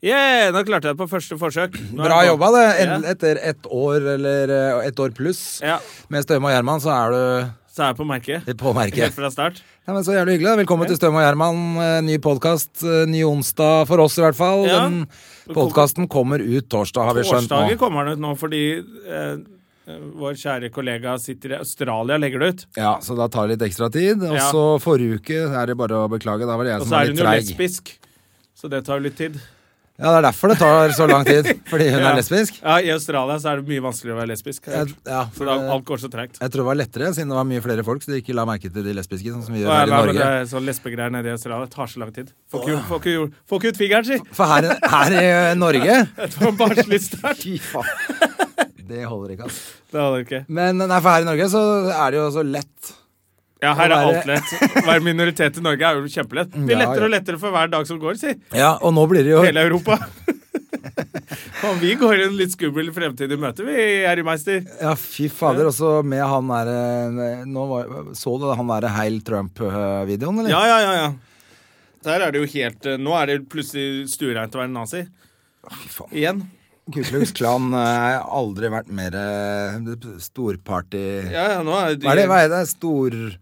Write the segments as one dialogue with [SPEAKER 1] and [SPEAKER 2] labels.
[SPEAKER 1] Yeah, nå klarte jeg det på første forsøk. Nå er
[SPEAKER 2] Bra
[SPEAKER 1] jeg på.
[SPEAKER 2] jobba, det.
[SPEAKER 1] Ja.
[SPEAKER 2] En- Etter ett år eller eh, ett år pluss
[SPEAKER 1] Ja,
[SPEAKER 2] med Støme og Gjerman, så er du
[SPEAKER 1] så er jeg på merket.
[SPEAKER 2] på merket.
[SPEAKER 1] Helt fra start.
[SPEAKER 2] Ja, men så jævlig hyggelig. da. Velkommen til Støm og Gjerman. Eh, Ny podkast. Ny onsdag for oss, i hvert fall.
[SPEAKER 1] Ja.
[SPEAKER 2] Den podkasten kommer ut torsdag, har vi skjønt
[SPEAKER 1] Årsdager
[SPEAKER 2] nå.
[SPEAKER 1] kommer den ut nå fordi eh, vår kjære kollega sitter i Australia og legger det ut.
[SPEAKER 2] Ja, Så da tar det litt ekstra tid. Og
[SPEAKER 1] Ja.
[SPEAKER 2] så forrige uke er det bare å beklage. Da var det jeg
[SPEAKER 1] Og
[SPEAKER 2] som
[SPEAKER 1] så
[SPEAKER 2] var
[SPEAKER 1] er
[SPEAKER 2] litt
[SPEAKER 1] hun jo
[SPEAKER 2] treig.
[SPEAKER 1] lesbisk, så det tar jo litt tid.
[SPEAKER 2] Ja, det er derfor det tar så lang tid. Fordi hun
[SPEAKER 1] Ja.
[SPEAKER 2] er lesbisk.
[SPEAKER 1] Ja, I Australia så er det mye vanskeligere å være lesbisk. har jeg
[SPEAKER 2] Jeg,
[SPEAKER 1] hørt.
[SPEAKER 2] ja,
[SPEAKER 1] Så
[SPEAKER 2] for
[SPEAKER 1] da,
[SPEAKER 2] det-
[SPEAKER 1] alt går så tregt.
[SPEAKER 2] jeg tror det var lettere, siden det var mye flere folk, så de ikke la merke til de lesbiske, sånn som vi gjør her
[SPEAKER 1] Ja,
[SPEAKER 2] i
[SPEAKER 1] men det
[SPEAKER 2] Norge.
[SPEAKER 1] er sånn lesbegreier nede i Australia det tar så lang tid. Får ikke, får ikke, gjort- får ikke ut fingeren, si!
[SPEAKER 2] For her, her i eh, Norge
[SPEAKER 1] Det var en barnslig start.
[SPEAKER 2] Fy faen. Det holder ikke, altså.
[SPEAKER 1] Det holder ikke.
[SPEAKER 2] Men nei, for her i Norge så er det jo så lett.
[SPEAKER 1] Ja, her er
[SPEAKER 2] Å være- Mm,
[SPEAKER 1] alt lett. Å være minoritet i Norge er jo kjempelett. Det blir
[SPEAKER 2] Ja, ja.
[SPEAKER 1] lettere og lettere for hver dag som går, si.
[SPEAKER 2] Ja, og nå blir det jo
[SPEAKER 1] Hele Europa. Faen, vi går en litt skummel fremtid i møte, vi, Harry Meister.
[SPEAKER 2] Ja, fy fader. Og så med han derre Nå var- så du han derre Heil Trump-videoen, eller?
[SPEAKER 1] Ja, ja, ja. ja. Der er det jo helt eh, Nå er det plutselig stuereint å være nazi.
[SPEAKER 2] faen.
[SPEAKER 1] Igjen.
[SPEAKER 2] Ku Klux Klan eh, har aldri vært mer eh, storparty...
[SPEAKER 1] Ja, ja, nå er det,
[SPEAKER 2] Hva er det? Hva er det? Stor...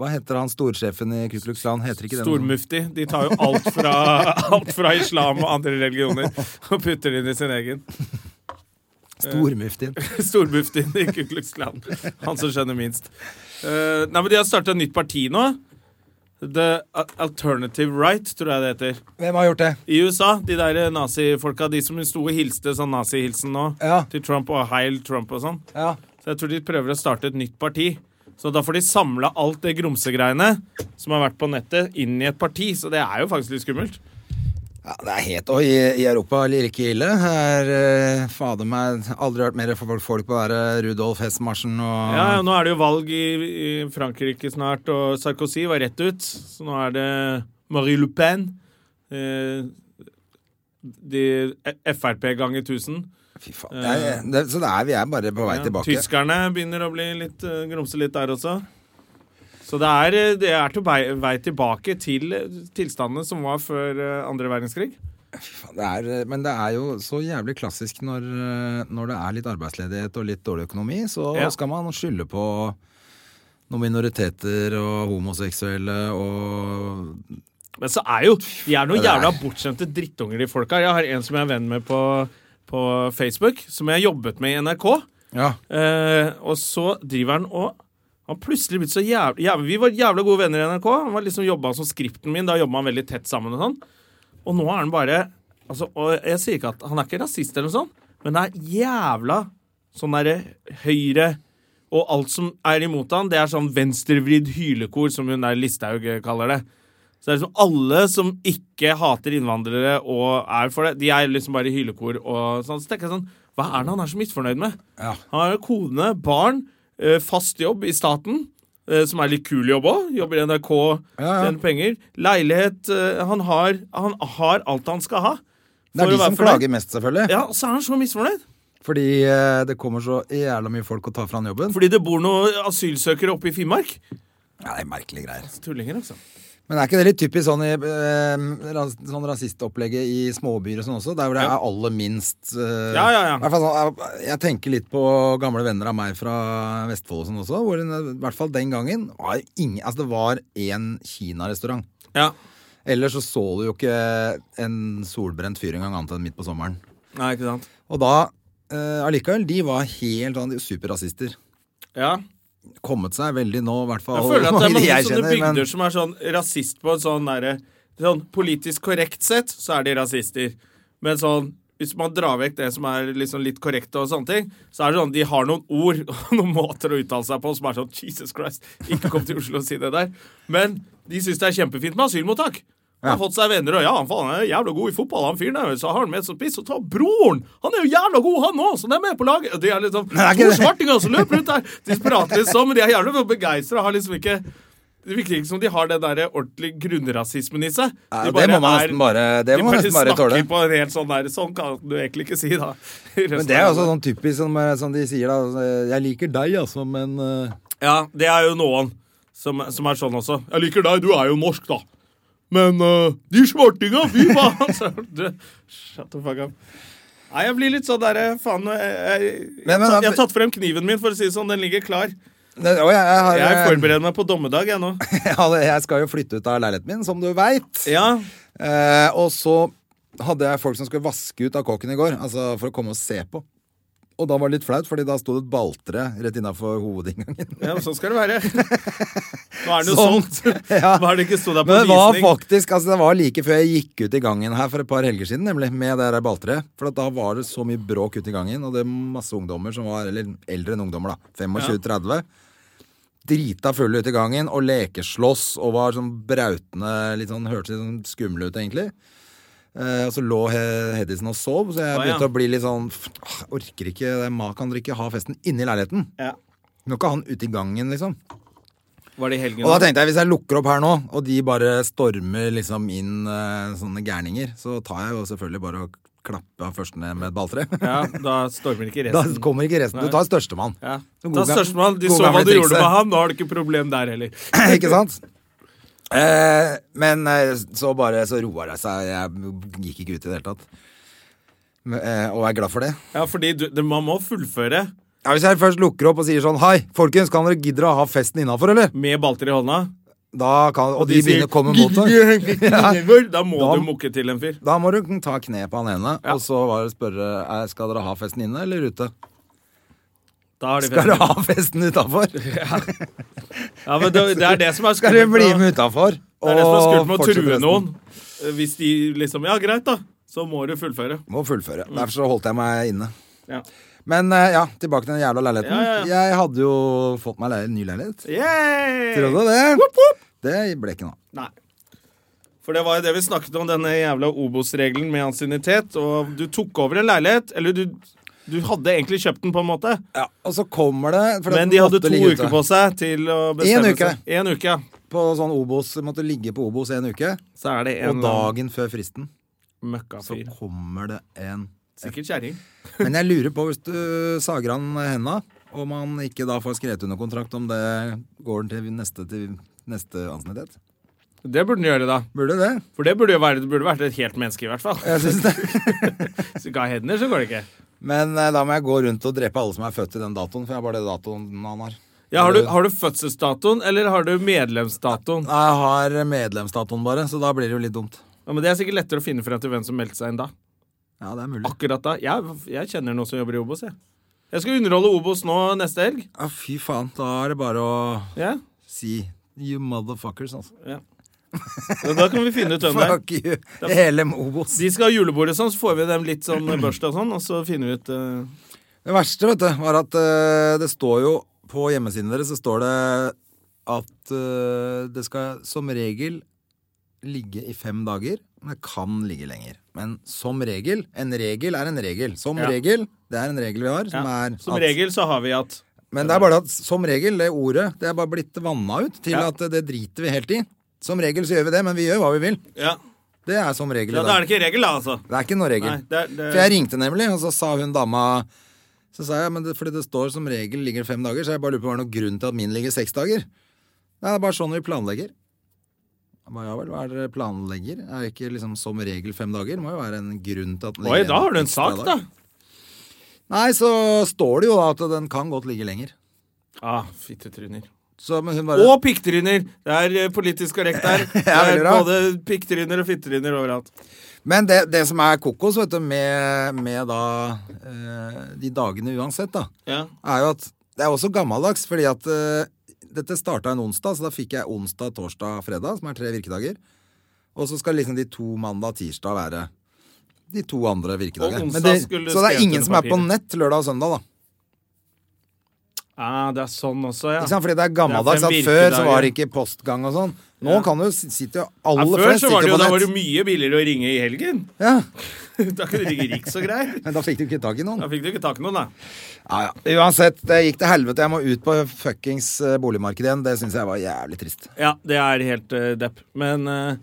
[SPEAKER 2] Hva heter han storsjefen i Ku Klux Klan? Heter ikke det noe?
[SPEAKER 1] Stormufti. De tar jo alt fra, alt fra islam og andre religioner og putter det inn i sin egen.
[SPEAKER 2] Stormuftien.
[SPEAKER 1] Stormuftien i Ku Klux Klan. Han som skjønner minst. Eh, nei, men De har starta et nytt parti nå. The Al- Alternative Right, tror jeg det heter.
[SPEAKER 2] Hvem har gjort det?
[SPEAKER 1] I USA, de der nazifolka, de som sto og hilste sånn nazihilsen nå,
[SPEAKER 2] Ja.
[SPEAKER 1] til Trump og Heil Trump og sånn.
[SPEAKER 2] Ja.
[SPEAKER 1] Så jeg tror de prøver å starte et nytt parti. Så da får de samla alt det grumsegreiene som har vært på nettet, inn i et parti. Så det er jo faktisk litt skummelt.
[SPEAKER 2] Ja, det er helt Og i, i Europa er det like ille. Her, eh, fader meg, aldri hørt mer folk, folk på å være Rudolf Hestmarschen og
[SPEAKER 1] Ja, ja, Nå er det jo valg i, i Frankrike snart, og Sarkozy var rett ut. Så nå er det Marie Le Pen. Eh, de Frp ganger 1000.
[SPEAKER 2] Fy faen. Jeg- jeg- det, så det er, vi er bare på vei
[SPEAKER 1] Eh. Ja,
[SPEAKER 2] tilbake.
[SPEAKER 1] Tyskerne begynner å bli litt eh, grumse litt der også. Så det er, eh, det er til vei, vei tilbake til eh, tilstandene som var før eh, andre verdenskrig.
[SPEAKER 2] Faen, Det er, eh, men det er jo så jævlig klassisk når, eh, når det er litt arbeidsledighet og litt dårlig økonomi, så
[SPEAKER 1] Ja.
[SPEAKER 2] skal man skylde på noen minoriteter og homoseksuelle og
[SPEAKER 1] Men så er jo De er noen
[SPEAKER 2] Ja, det er-
[SPEAKER 1] jævla bortskjemte drittunger, de folka. Jeg har en som jeg er venn med på, på Facebook, som jeg jobbet med i NRK.
[SPEAKER 2] Ja.
[SPEAKER 1] Eh, og så driver han og han plutselig blitt så jævlig, jævlig Vi var jævla gode venner i NRK. Han var liksom jobba som skripten min. Da jobba han veldig tett sammen og sånn. Og nå er han bare altså, og Jeg sier ikke at han er ikke rasist eller noe sånt, men det er jævla sånn derre høyre Og alt som er imot han, det er sånn venstrevridd hylekor, som hun der Listhaug eh, kaller det. Så det er liksom alle som ikke hater innvandrere og er for det, de er liksom bare i hylekor og sånn. Så tenker jeg sånn Hva er det han er så misfornøyd med?
[SPEAKER 2] Ja.
[SPEAKER 1] Han har jo kone, barn, eh, fast jobb i staten, eh, som er litt kul jobb òg. Jobber i NRK,
[SPEAKER 2] Ja, ja.
[SPEAKER 1] tjener penger. Leilighet. eh, Han har, han har alt han skal ha.
[SPEAKER 2] Det er
[SPEAKER 1] For
[SPEAKER 2] de
[SPEAKER 1] å
[SPEAKER 2] som
[SPEAKER 1] være fornøyd.
[SPEAKER 2] klager mest, selvfølgelig.
[SPEAKER 1] Ja, og så er han så misfornøyd.
[SPEAKER 2] Fordi eh, det kommer så jævla mye folk og tar fra han jobben.
[SPEAKER 1] Fordi det bor noen asylsøkere oppe i Finnmark.
[SPEAKER 2] Ja, det er merkelige greier.
[SPEAKER 1] Tullinger, altså.
[SPEAKER 2] Men er ikke det litt typisk sånn, i, eh, ras, sånn rasistopplegget i småbyer og sånn også? Der hvor det
[SPEAKER 1] Ja.
[SPEAKER 2] er aller minst eh,
[SPEAKER 1] Ja, ja, ja.
[SPEAKER 2] i hvert fall sånn, eh, Jeg tenker litt på gamle venner av meg fra Vestfold og sånn også. Hvor den, I hvert fall den gangen var ingen, altså det var én kinarestaurant.
[SPEAKER 1] Ja.
[SPEAKER 2] Ellers så så du jo ikke en solbrent fyr engang, annet enn midt på sommeren.
[SPEAKER 1] Nei, ikke sant.
[SPEAKER 2] Og da eh, allikevel, de var helt sånn de var superrasister.
[SPEAKER 1] Ja.
[SPEAKER 2] Kommet seg veldig nå, i hvert fall.
[SPEAKER 1] Jeg føler at det er
[SPEAKER 2] mange
[SPEAKER 1] mange
[SPEAKER 2] jeg
[SPEAKER 1] sånne
[SPEAKER 2] kjenner, men-
[SPEAKER 1] bygder som er sånn rasist på en sånn derre Sånn politisk korrekt sett, så er de rasister. Men sånn hvis man drar vekk det som er liksom litt korrekt, og sånne ting, så er det sånn de har noen ord og noen måter å uttale seg på som er sånn Jesus Christ, ikke kom til Oslo og si det der. Men de syns det er kjempefint med asylmottak. Han har fått seg venner, og ja, han, faen, han er jævla god i fotball, han fyren der. Så har han med som piss, og ta broren! Han er jo jævla god, han òg, så han er med på laget. Og De er liksom
[SPEAKER 2] Nei, det er
[SPEAKER 1] to
[SPEAKER 2] ikke det.
[SPEAKER 1] svartinger som løper rundt der. De prater litt sånn, men de er jævla begeistra. Har liksom ikke det virker ikke som de har den der ordentlig grunnrasismen i seg.
[SPEAKER 2] Ja,
[SPEAKER 1] De
[SPEAKER 2] det må man nesten bare- det
[SPEAKER 1] de
[SPEAKER 2] må man nesten bare
[SPEAKER 1] snakker
[SPEAKER 2] tåle.
[SPEAKER 1] På en helt sånn, der, sånn kan du egentlig ikke si, da.
[SPEAKER 2] Men det er også sånn typisk som, eh, som de sier, da. eh, Jeg liker deg, altså, men eh,
[SPEAKER 1] Ja, det er jo noen som, som er sånn også. Jeg liker deg, du er jo norsk, da. Men øh, de svartinga, fy faen! Så, du, shut the fuck up. Nei, jeg blir litt sånn derre Faen. Jeg, jeg, jeg,
[SPEAKER 2] Men- men-
[SPEAKER 1] jeg, har tatt frem kniven min, for å si det sånn. Den ligger klar.
[SPEAKER 2] Nei, å, jeg, jeg, har,
[SPEAKER 1] Jeg
[SPEAKER 2] eh,
[SPEAKER 1] forbereder meg på dommedag, jeg nå.
[SPEAKER 2] jeg, hadde- jeg skal jo flytte ut av leiligheten min, som du veit.
[SPEAKER 1] Ja,
[SPEAKER 2] Eh, og så hadde jeg folk som skulle vaske ut av kåken i går, altså for å komme og se på. Og da var det litt flaut, fordi da sto det et balltre rett innafor hovedinngangen.
[SPEAKER 1] ja sånn skal det være. Nå er den jo
[SPEAKER 2] Sånn.
[SPEAKER 1] solgt.
[SPEAKER 2] Ja.
[SPEAKER 1] Nå har det ikke stått der på
[SPEAKER 2] Men det var
[SPEAKER 1] visning.
[SPEAKER 2] faktisk, altså det var like før jeg gikk ut i gangen her for et par helger siden, nemlig, med det der balltreet. For at da var det så mye bråk ute i gangen, og det er masse ungdommer som var, eller eldre enn ungdommer, da. 25-30. Drita fulle ute i gangen og lekeslåss og var sånn brautende, litt sånn, hørtes litt sånn skumle ut, egentlig. Eh, og så lå He Hedisen og sov, så jeg
[SPEAKER 1] Å, ja.
[SPEAKER 2] begynte å bli litt sånn "Pff, åh, Orker ikke, det er ma kan dere ikke ha festen inne i leiligheten?
[SPEAKER 1] Ja.
[SPEAKER 2] Nå kan han ute i gangen, liksom.
[SPEAKER 1] Var det i helgen?
[SPEAKER 2] Og da
[SPEAKER 1] da?
[SPEAKER 2] tenkte jeg, hvis jeg lukker opp her nå, og de bare stormer liksom inn eh, sånne gærninger, så tar jeg jo selvfølgelig bare og klapper av førsten med et balltre.
[SPEAKER 1] Ja, da stormer ikke
[SPEAKER 2] Da
[SPEAKER 1] resten.
[SPEAKER 2] kommer ikke resten. Du tar størstemann.
[SPEAKER 1] Ja.
[SPEAKER 2] Så
[SPEAKER 1] Ta
[SPEAKER 2] god ga-
[SPEAKER 1] størstemann. De
[SPEAKER 2] god
[SPEAKER 1] så hva
[SPEAKER 2] gamle
[SPEAKER 1] du gjorde
[SPEAKER 2] trikset.
[SPEAKER 1] med han, nå har du ikke problem der heller.
[SPEAKER 2] ikke sant? Eh, men eh, så bare så roa det seg. Jeg gikk ikke ut i det hele tatt. Men, eh, og jeg er glad for det.
[SPEAKER 1] Ja, fordi du, det, man må fullføre
[SPEAKER 2] Ja, hvis jeg først lukker opp og sier sånn Hei, folkens, kan dere gidde å ha festen innafor, eller?
[SPEAKER 1] med balter i hånda.
[SPEAKER 2] Da kan, og, de,
[SPEAKER 1] sier,
[SPEAKER 2] begynner å komme mot deg.
[SPEAKER 1] «Gidder». Da må
[SPEAKER 2] Da-
[SPEAKER 1] du mukke til en fyr.
[SPEAKER 2] Da må du ta kne på han ene,
[SPEAKER 1] Ja.
[SPEAKER 2] og så var det spørre «Er- Skal dere ha festen inne eller ute?
[SPEAKER 1] Da er det
[SPEAKER 2] Skal
[SPEAKER 1] fest.
[SPEAKER 2] dere ha festen utafor?
[SPEAKER 1] Ja, men det, det er det som er
[SPEAKER 2] Skal dere
[SPEAKER 1] skummelt.
[SPEAKER 2] bli
[SPEAKER 1] med å-
[SPEAKER 2] med utafor?
[SPEAKER 1] Det er det som er skummelt med
[SPEAKER 2] og
[SPEAKER 1] å
[SPEAKER 2] fortsette
[SPEAKER 1] true
[SPEAKER 2] festen?
[SPEAKER 1] noen. Eh, Hvis de liksom Ja, greit, da. Så må du fullføre.
[SPEAKER 2] Må fullføre.
[SPEAKER 1] Mm.
[SPEAKER 2] Derfor så holdt jeg meg inne.
[SPEAKER 1] Ja.
[SPEAKER 2] Men eh, ja, tilbake til den jævla leiligheten.
[SPEAKER 1] Ja, ja,
[SPEAKER 2] Jeg hadde jo fått meg leil- ny leilighet.
[SPEAKER 1] Yay!
[SPEAKER 2] Trodde det. Det ble ikke noe.
[SPEAKER 1] Nei. For det var jo det vi snakket om, denne jævla Obos-regelen med ansiennitet. Og du tok over en leilighet, eller du, du hadde egentlig kjøpt den, på en måte.
[SPEAKER 2] Ja, og så kommer det fordi at
[SPEAKER 1] Men
[SPEAKER 2] den
[SPEAKER 1] de hadde
[SPEAKER 2] måtte
[SPEAKER 1] to
[SPEAKER 2] ligge ute.
[SPEAKER 1] uker på seg til å bestemme
[SPEAKER 2] En uke.
[SPEAKER 1] seg. En uke. ja.
[SPEAKER 2] På sånn Obos, måtte ligge på Obos en uke.
[SPEAKER 1] Så er det en
[SPEAKER 2] Og dagen før fristen så
[SPEAKER 1] møkkafyr.
[SPEAKER 2] kommer det en
[SPEAKER 1] Sikkert kjerring.
[SPEAKER 2] Men jeg lurer på, hvis du sager han henda, om han ikke da får skrevet under kontrakt, om det går til neste, til neste ansiennitet?
[SPEAKER 1] Det burde den gjøre, da.
[SPEAKER 2] Burde det?
[SPEAKER 1] For det burde jo være, det burde vært et helt menneske, i hvert fall.
[SPEAKER 2] Jeg synes det.
[SPEAKER 1] Hvis du ikke har hender, så går det ikke.
[SPEAKER 2] Men eh, da må jeg gå rundt og drepe alle som er født i den datoen, for jeg har bare det datoen han har.
[SPEAKER 1] Ja, har, du, har du fødselsdatoen, eller har du medlemsdatoen?
[SPEAKER 2] Nei, Jeg har medlemsdatoen bare, så da blir det jo litt dumt.
[SPEAKER 1] Ja, men Det er sikkert lettere å finne frem til hvem som meldte seg inn da.
[SPEAKER 2] Ja, det er mulig.
[SPEAKER 1] Akkurat da. Jeg, jeg kjenner noen som jobber i Obos, jeg. Jeg skal underholde Obos nå neste helg.
[SPEAKER 2] Ja, Ah, fy faen. Da er det bare å
[SPEAKER 1] Ja,
[SPEAKER 2] si you motherfuckers, altså.
[SPEAKER 1] ja. Og Da kan vi finne ut hvem det er.
[SPEAKER 2] Fuck you. Hele Obos.
[SPEAKER 1] De skal ha julebord og sånn, så får vi dem litt sånn børsta og sånn, og så finner vi ut eh,
[SPEAKER 2] Det verste, vet du, var at eh, det står jo På hjemmesiden deres så står det at eh, det skal som regel ligge i fem dager. Men det kan ligge lenger. Men som regel En regel er en regel. Som
[SPEAKER 1] Ja.
[SPEAKER 2] regel. Det er en regel vi har. Som
[SPEAKER 1] ja.
[SPEAKER 2] er
[SPEAKER 1] Som
[SPEAKER 2] at-
[SPEAKER 1] regel så har vi at
[SPEAKER 2] Men det er bare at som regel, det ordet, det er bare blitt vanna ut til
[SPEAKER 1] Ja.
[SPEAKER 2] at det driter vi helt i. Som regel så gjør vi det, men vi gjør hva vi vil.
[SPEAKER 1] Ja,
[SPEAKER 2] Det er som regel.
[SPEAKER 1] ja
[SPEAKER 2] i
[SPEAKER 1] da
[SPEAKER 2] dag.
[SPEAKER 1] er det ikke regel, da, altså.
[SPEAKER 2] Det er ikke noe regel.
[SPEAKER 1] Nei, det er,
[SPEAKER 2] For jeg
[SPEAKER 1] det,
[SPEAKER 2] ringte nemlig, og så sa hun dama Så sa jeg, men det, fordi det står som regel ligger det fem dager, så jeg bare lurer på om det er noen grunn til at min ligger seks dager. Nei, det er bare sånn vi planlegger. Jeg ba, ja vel, hva er dere planlegger? Er det ikke liksom som regel fem dager? Det må jo være en grunn til at den
[SPEAKER 1] Oi,
[SPEAKER 2] ligger
[SPEAKER 1] da har du en
[SPEAKER 2] ekstra
[SPEAKER 1] sak,
[SPEAKER 2] dag.
[SPEAKER 1] da.
[SPEAKER 2] Nei, så står det jo da at den kan godt ligge lenger.
[SPEAKER 1] Ah, fittetryner.
[SPEAKER 2] Så, men hun bare
[SPEAKER 1] Og pikktryner! Det er eh, politisk korrekt her. Det er
[SPEAKER 2] veldig bra.
[SPEAKER 1] både pikktryner og fittetryner overalt.
[SPEAKER 2] Men det, det som er kokos, vet du, med, med da eh, de dagene uansett, da,
[SPEAKER 1] Ja.
[SPEAKER 2] er jo at det er også gammeldags, fordi at eh, dette starta en onsdag, så da fikk jeg onsdag, torsdag, fredag, som er tre virkedager. Og så skal liksom de to mandag, tirsdag være de to andre virkedager.
[SPEAKER 1] Og onsdag
[SPEAKER 2] Men det-
[SPEAKER 1] skulle
[SPEAKER 2] så det
[SPEAKER 1] skrevet
[SPEAKER 2] er ingen
[SPEAKER 1] under
[SPEAKER 2] som er på
[SPEAKER 1] papiret.
[SPEAKER 2] nett lørdag og søndag, da.
[SPEAKER 1] Ah, det er sånn også, ja.
[SPEAKER 2] Ikke sant? Fordi det er
[SPEAKER 1] Det
[SPEAKER 2] gammeldags
[SPEAKER 1] er
[SPEAKER 2] at
[SPEAKER 1] fem
[SPEAKER 2] før så
[SPEAKER 1] virkedager.
[SPEAKER 2] var det ikke postgang og sånn. Nå
[SPEAKER 1] Ja.
[SPEAKER 2] kan du s- sitte jo
[SPEAKER 1] Ja,
[SPEAKER 2] aller
[SPEAKER 1] før
[SPEAKER 2] flest
[SPEAKER 1] så
[SPEAKER 2] sitter
[SPEAKER 1] var det jo,
[SPEAKER 2] på
[SPEAKER 1] da var
[SPEAKER 2] nett.
[SPEAKER 1] det mye billigere å ringe i helgen.
[SPEAKER 2] Ja,
[SPEAKER 1] da kunne du ringe Riks og greier.
[SPEAKER 2] men da fikk du ikke tak i noen.
[SPEAKER 1] Da fikk du ikke tak i noen, da.
[SPEAKER 2] Ja, ja. Uansett, det gikk til helvete. Jeg må ut på fuckings eh, boligmarkedet igjen. Det syns jeg var jævlig trist.
[SPEAKER 1] Ja, det er helt eh, depp. Men eh,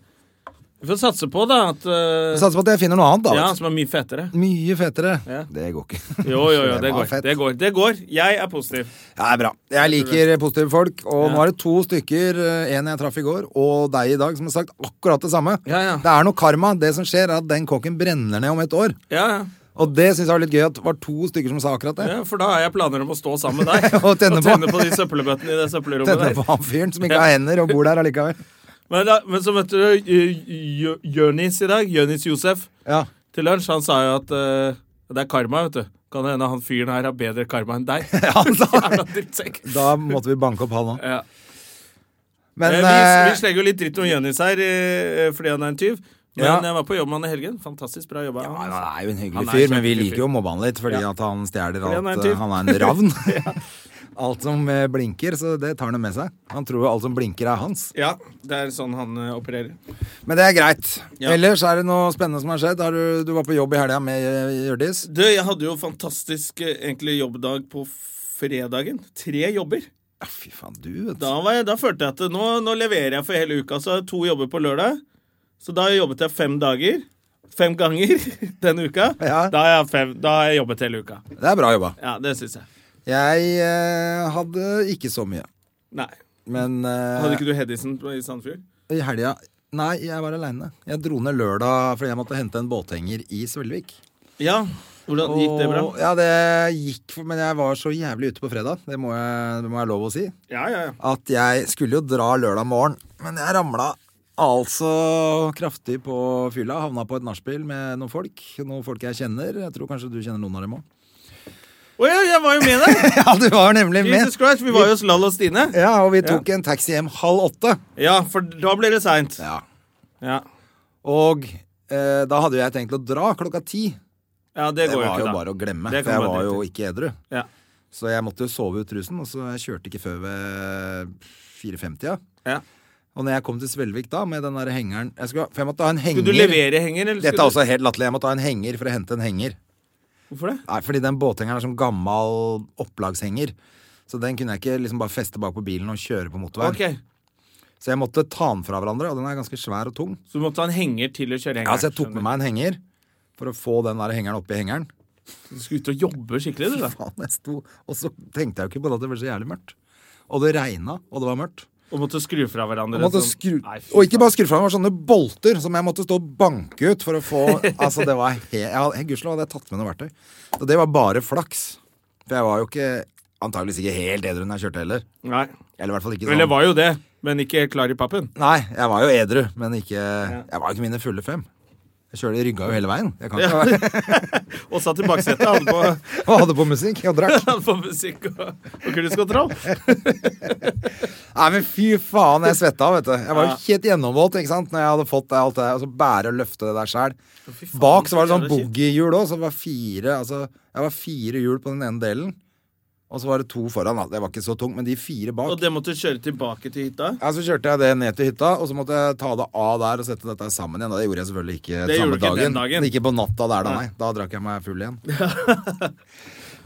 [SPEAKER 1] vi får satse på, da, at eh,
[SPEAKER 2] Jeg satser på at jeg finner noe annet, da.
[SPEAKER 1] Ja,
[SPEAKER 2] vet du.
[SPEAKER 1] som er mye fetere.
[SPEAKER 2] Mye fetere.
[SPEAKER 1] Ja.
[SPEAKER 2] Det går ikke.
[SPEAKER 1] Jo, jo, jo, det
[SPEAKER 2] var
[SPEAKER 1] går.
[SPEAKER 2] fett.
[SPEAKER 1] Det går. Det går. Jeg er positiv.
[SPEAKER 2] Ja, det er bra. Jeg liker positive folk, og nå er det to stykker, eh, en jeg traff i går, og deg i dag, som har sagt akkurat det samme.
[SPEAKER 1] Ja, ja.
[SPEAKER 2] Det er noe karma. Det som skjer, er at den kokken brenner ned om et år.
[SPEAKER 1] Ja, ja.
[SPEAKER 2] Og det syns jeg var litt gøy at det var to stykker som sa akkurat det.
[SPEAKER 1] Ja, for da har jeg planer om å stå sammen med deg
[SPEAKER 2] Og tenne på.
[SPEAKER 1] de søppelbøttene i det søppelrommet
[SPEAKER 2] Tenne på
[SPEAKER 1] der.
[SPEAKER 2] han fyren som ikke har hender og bor der allikevel.
[SPEAKER 1] Men, da, men så møtte du eh, Jø- Jørnis i dag. Jørnis Josef
[SPEAKER 2] Ja.
[SPEAKER 1] til lunsj. Han sa jo at eh, det er karma, vet du. Kan det hende han fyren her har bedre karma enn deg? Jævla drittsekk.
[SPEAKER 2] Da måtte vi banke opp han òg.
[SPEAKER 1] Ja.
[SPEAKER 2] Men
[SPEAKER 1] Eh, vi,
[SPEAKER 2] eh,
[SPEAKER 1] vi slenger jo litt dritt om Jønis her eh, fordi han er en tyv. Men eh,
[SPEAKER 2] Ja.
[SPEAKER 1] jeg var på jobb med han i helgen. Fantastisk bra jobba.
[SPEAKER 2] han er jo en
[SPEAKER 1] Han
[SPEAKER 2] hyggelig
[SPEAKER 1] er
[SPEAKER 2] fyr, men vi
[SPEAKER 1] kjempehyggelig
[SPEAKER 2] liker jo å mobbe han litt fordi at han stjeler alt.
[SPEAKER 1] Fordi han er
[SPEAKER 2] eh,
[SPEAKER 1] en tyv.
[SPEAKER 2] Han er en ravn. Alt som eh, blinker, så det tar han med seg. Han tror jo alt som blinker, er hans.
[SPEAKER 1] Ja, det er sånn han eh, opererer.
[SPEAKER 2] Men det er greit.
[SPEAKER 1] Ja.
[SPEAKER 2] Ellers er det noe spennende som har skjedd. Har du, du var på jobb i helga med eh, Hjørdis.
[SPEAKER 1] Du, jeg hadde jo fantastisk eh, egentlig jobbdag på fredagen. Tre jobber.
[SPEAKER 2] Ja, fy faen, du, vet du.
[SPEAKER 1] Da, var jeg, da følte jeg at eh, nå, nå leverer jeg for hele uka. Så jeg har to jobber på lørdag. Så da jobbet jeg fem dager. Fem ganger denne uka.
[SPEAKER 2] Ja.
[SPEAKER 1] Da, har jeg fem, da har jeg jobbet hele uka.
[SPEAKER 2] Det er bra jobba.
[SPEAKER 1] Ja, det syns jeg.
[SPEAKER 2] Jeg eh, hadde ikke så mye.
[SPEAKER 1] Nei.
[SPEAKER 2] Men eh,
[SPEAKER 1] Hadde ikke du Hedison på- i Sandfjord?
[SPEAKER 2] i helga Nei, jeg var aleine. Jeg dro ned lørdag fordi jeg måtte hente en båthenger i Svelvik.
[SPEAKER 1] Ja. Hvordan gikk det bra?
[SPEAKER 2] Og- Ja, det gikk, men jeg var så jævlig ute på fredag. Det må jeg, det må jeg ha lov å si.
[SPEAKER 1] Ja, ja, ja.
[SPEAKER 2] at jeg skulle jo dra lørdag morgen, men jeg ramla altså kraftig på fylla. Havna på et nachspiel med noen folk. Noen folk jeg kjenner. Jeg tror kanskje du kjenner noen av dem òg.
[SPEAKER 1] Å ja, jeg var jo med deg!
[SPEAKER 2] Ja, du var nemlig med.
[SPEAKER 1] Jesus Christ, vi var jo hos Lall og Stine.
[SPEAKER 2] Ja, og vi tok en taxi hjem halv åtte.
[SPEAKER 1] Ja, for da ble det seint.
[SPEAKER 2] Ja.
[SPEAKER 1] Ja.
[SPEAKER 2] Og eh, da hadde jo jeg tenkt å dra klokka ti.
[SPEAKER 1] ja, det
[SPEAKER 2] Det
[SPEAKER 1] går jo
[SPEAKER 2] var
[SPEAKER 1] ikke,
[SPEAKER 2] jo
[SPEAKER 1] da.
[SPEAKER 2] bare å glemme,
[SPEAKER 1] Det
[SPEAKER 2] for
[SPEAKER 1] kan
[SPEAKER 2] jeg
[SPEAKER 1] man
[SPEAKER 2] var
[SPEAKER 1] drite
[SPEAKER 2] jo
[SPEAKER 1] i.
[SPEAKER 2] ikke edru.
[SPEAKER 1] Ja.
[SPEAKER 2] Så jeg måtte jo sove ut rusen, og så jeg kjørte ikke før ved 4.50-tida.
[SPEAKER 1] Ja.
[SPEAKER 2] Og når jeg kom til Svelvik da, med den der hengeren jeg skulle, ha- For jeg måtte ha en henger.
[SPEAKER 1] Skulle du levere henger, eller?
[SPEAKER 2] Dette
[SPEAKER 1] skulle
[SPEAKER 2] er
[SPEAKER 1] du-
[SPEAKER 2] også helt latterlig. Jeg må ta en henger for å hente en henger.
[SPEAKER 1] Hvorfor det?
[SPEAKER 2] Nei, fordi den båthengeren er som gammel opplagshenger. Så den kunne jeg ikke liksom bare feste bak på bilen og kjøre på motorveien.
[SPEAKER 1] Ok,
[SPEAKER 2] Så jeg måtte ta den fra hverandre, og den er ganske svær og tung.
[SPEAKER 1] Så du måtte ha en henger til å kjøre hengeren?
[SPEAKER 2] Ja, så jeg tok med meg en henger for å få den der hengeren oppi hengeren.
[SPEAKER 1] Du skulle ut og jobbe skikkelig, du, da.
[SPEAKER 2] Faen, jeg sto, og så tenkte jeg jo ikke på det at det ble så jævlig mørkt. Og det regna, og det var mørkt.
[SPEAKER 1] Og måtte skru fra hverandre.
[SPEAKER 2] Jeg måtte
[SPEAKER 1] sånn-
[SPEAKER 2] skru,
[SPEAKER 1] Nei, fy
[SPEAKER 2] og ikke
[SPEAKER 1] faen.
[SPEAKER 2] bare skru fra, det var sånne bolter som jeg måtte stå og banke ut for å få Altså, det var he... ja, Gudskjelov hadde jeg tatt med noe verktøy. Og det var bare flaks. For jeg var jo ikke antageligvis ikke helt edru når jeg kjørte heller.
[SPEAKER 1] Nei.
[SPEAKER 2] Eller i hvert fall ikke
[SPEAKER 1] Vel, det
[SPEAKER 2] sånn.
[SPEAKER 1] var jo det, men ikke klar i pappen.
[SPEAKER 2] Nei, jeg var jo edru, men ikke Jeg var jo ikke mine fulle fem. Jeg kjørte rygga jo hele veien. Jeg kan ikke være
[SPEAKER 1] Og satt i baksetet og hadde på,
[SPEAKER 2] Og hadde på musikk og drakk.
[SPEAKER 1] hadde på musikk og, og cruisekontroll.
[SPEAKER 2] Nei, men fy faen, jeg svetta, vet du. Jeg var jo helt gjennomvåt ikke sant? Når jeg hadde fått det, alt det der, og så bære og løfte det der sjæl. Bak så var det sånn
[SPEAKER 1] jævla kjipt.
[SPEAKER 2] boogiehjul òg, så det var fire altså, Jeg var fire hjul på den ene delen, og så var det to foran. da. Det var ikke så tungt, men de fire bak.
[SPEAKER 1] Og det måtte du kjøre tilbake til hytta.
[SPEAKER 2] Ja, Så kjørte jeg det ned til hytta, og så måtte jeg ta det av der og sette dette sammen igjen. og Det gjorde jeg selvfølgelig ikke
[SPEAKER 1] Det
[SPEAKER 2] samme
[SPEAKER 1] gjorde du ikke den
[SPEAKER 2] dagen.
[SPEAKER 1] dagen.
[SPEAKER 2] Ikke på natta der, da, nei. Da drakk jeg meg full igjen.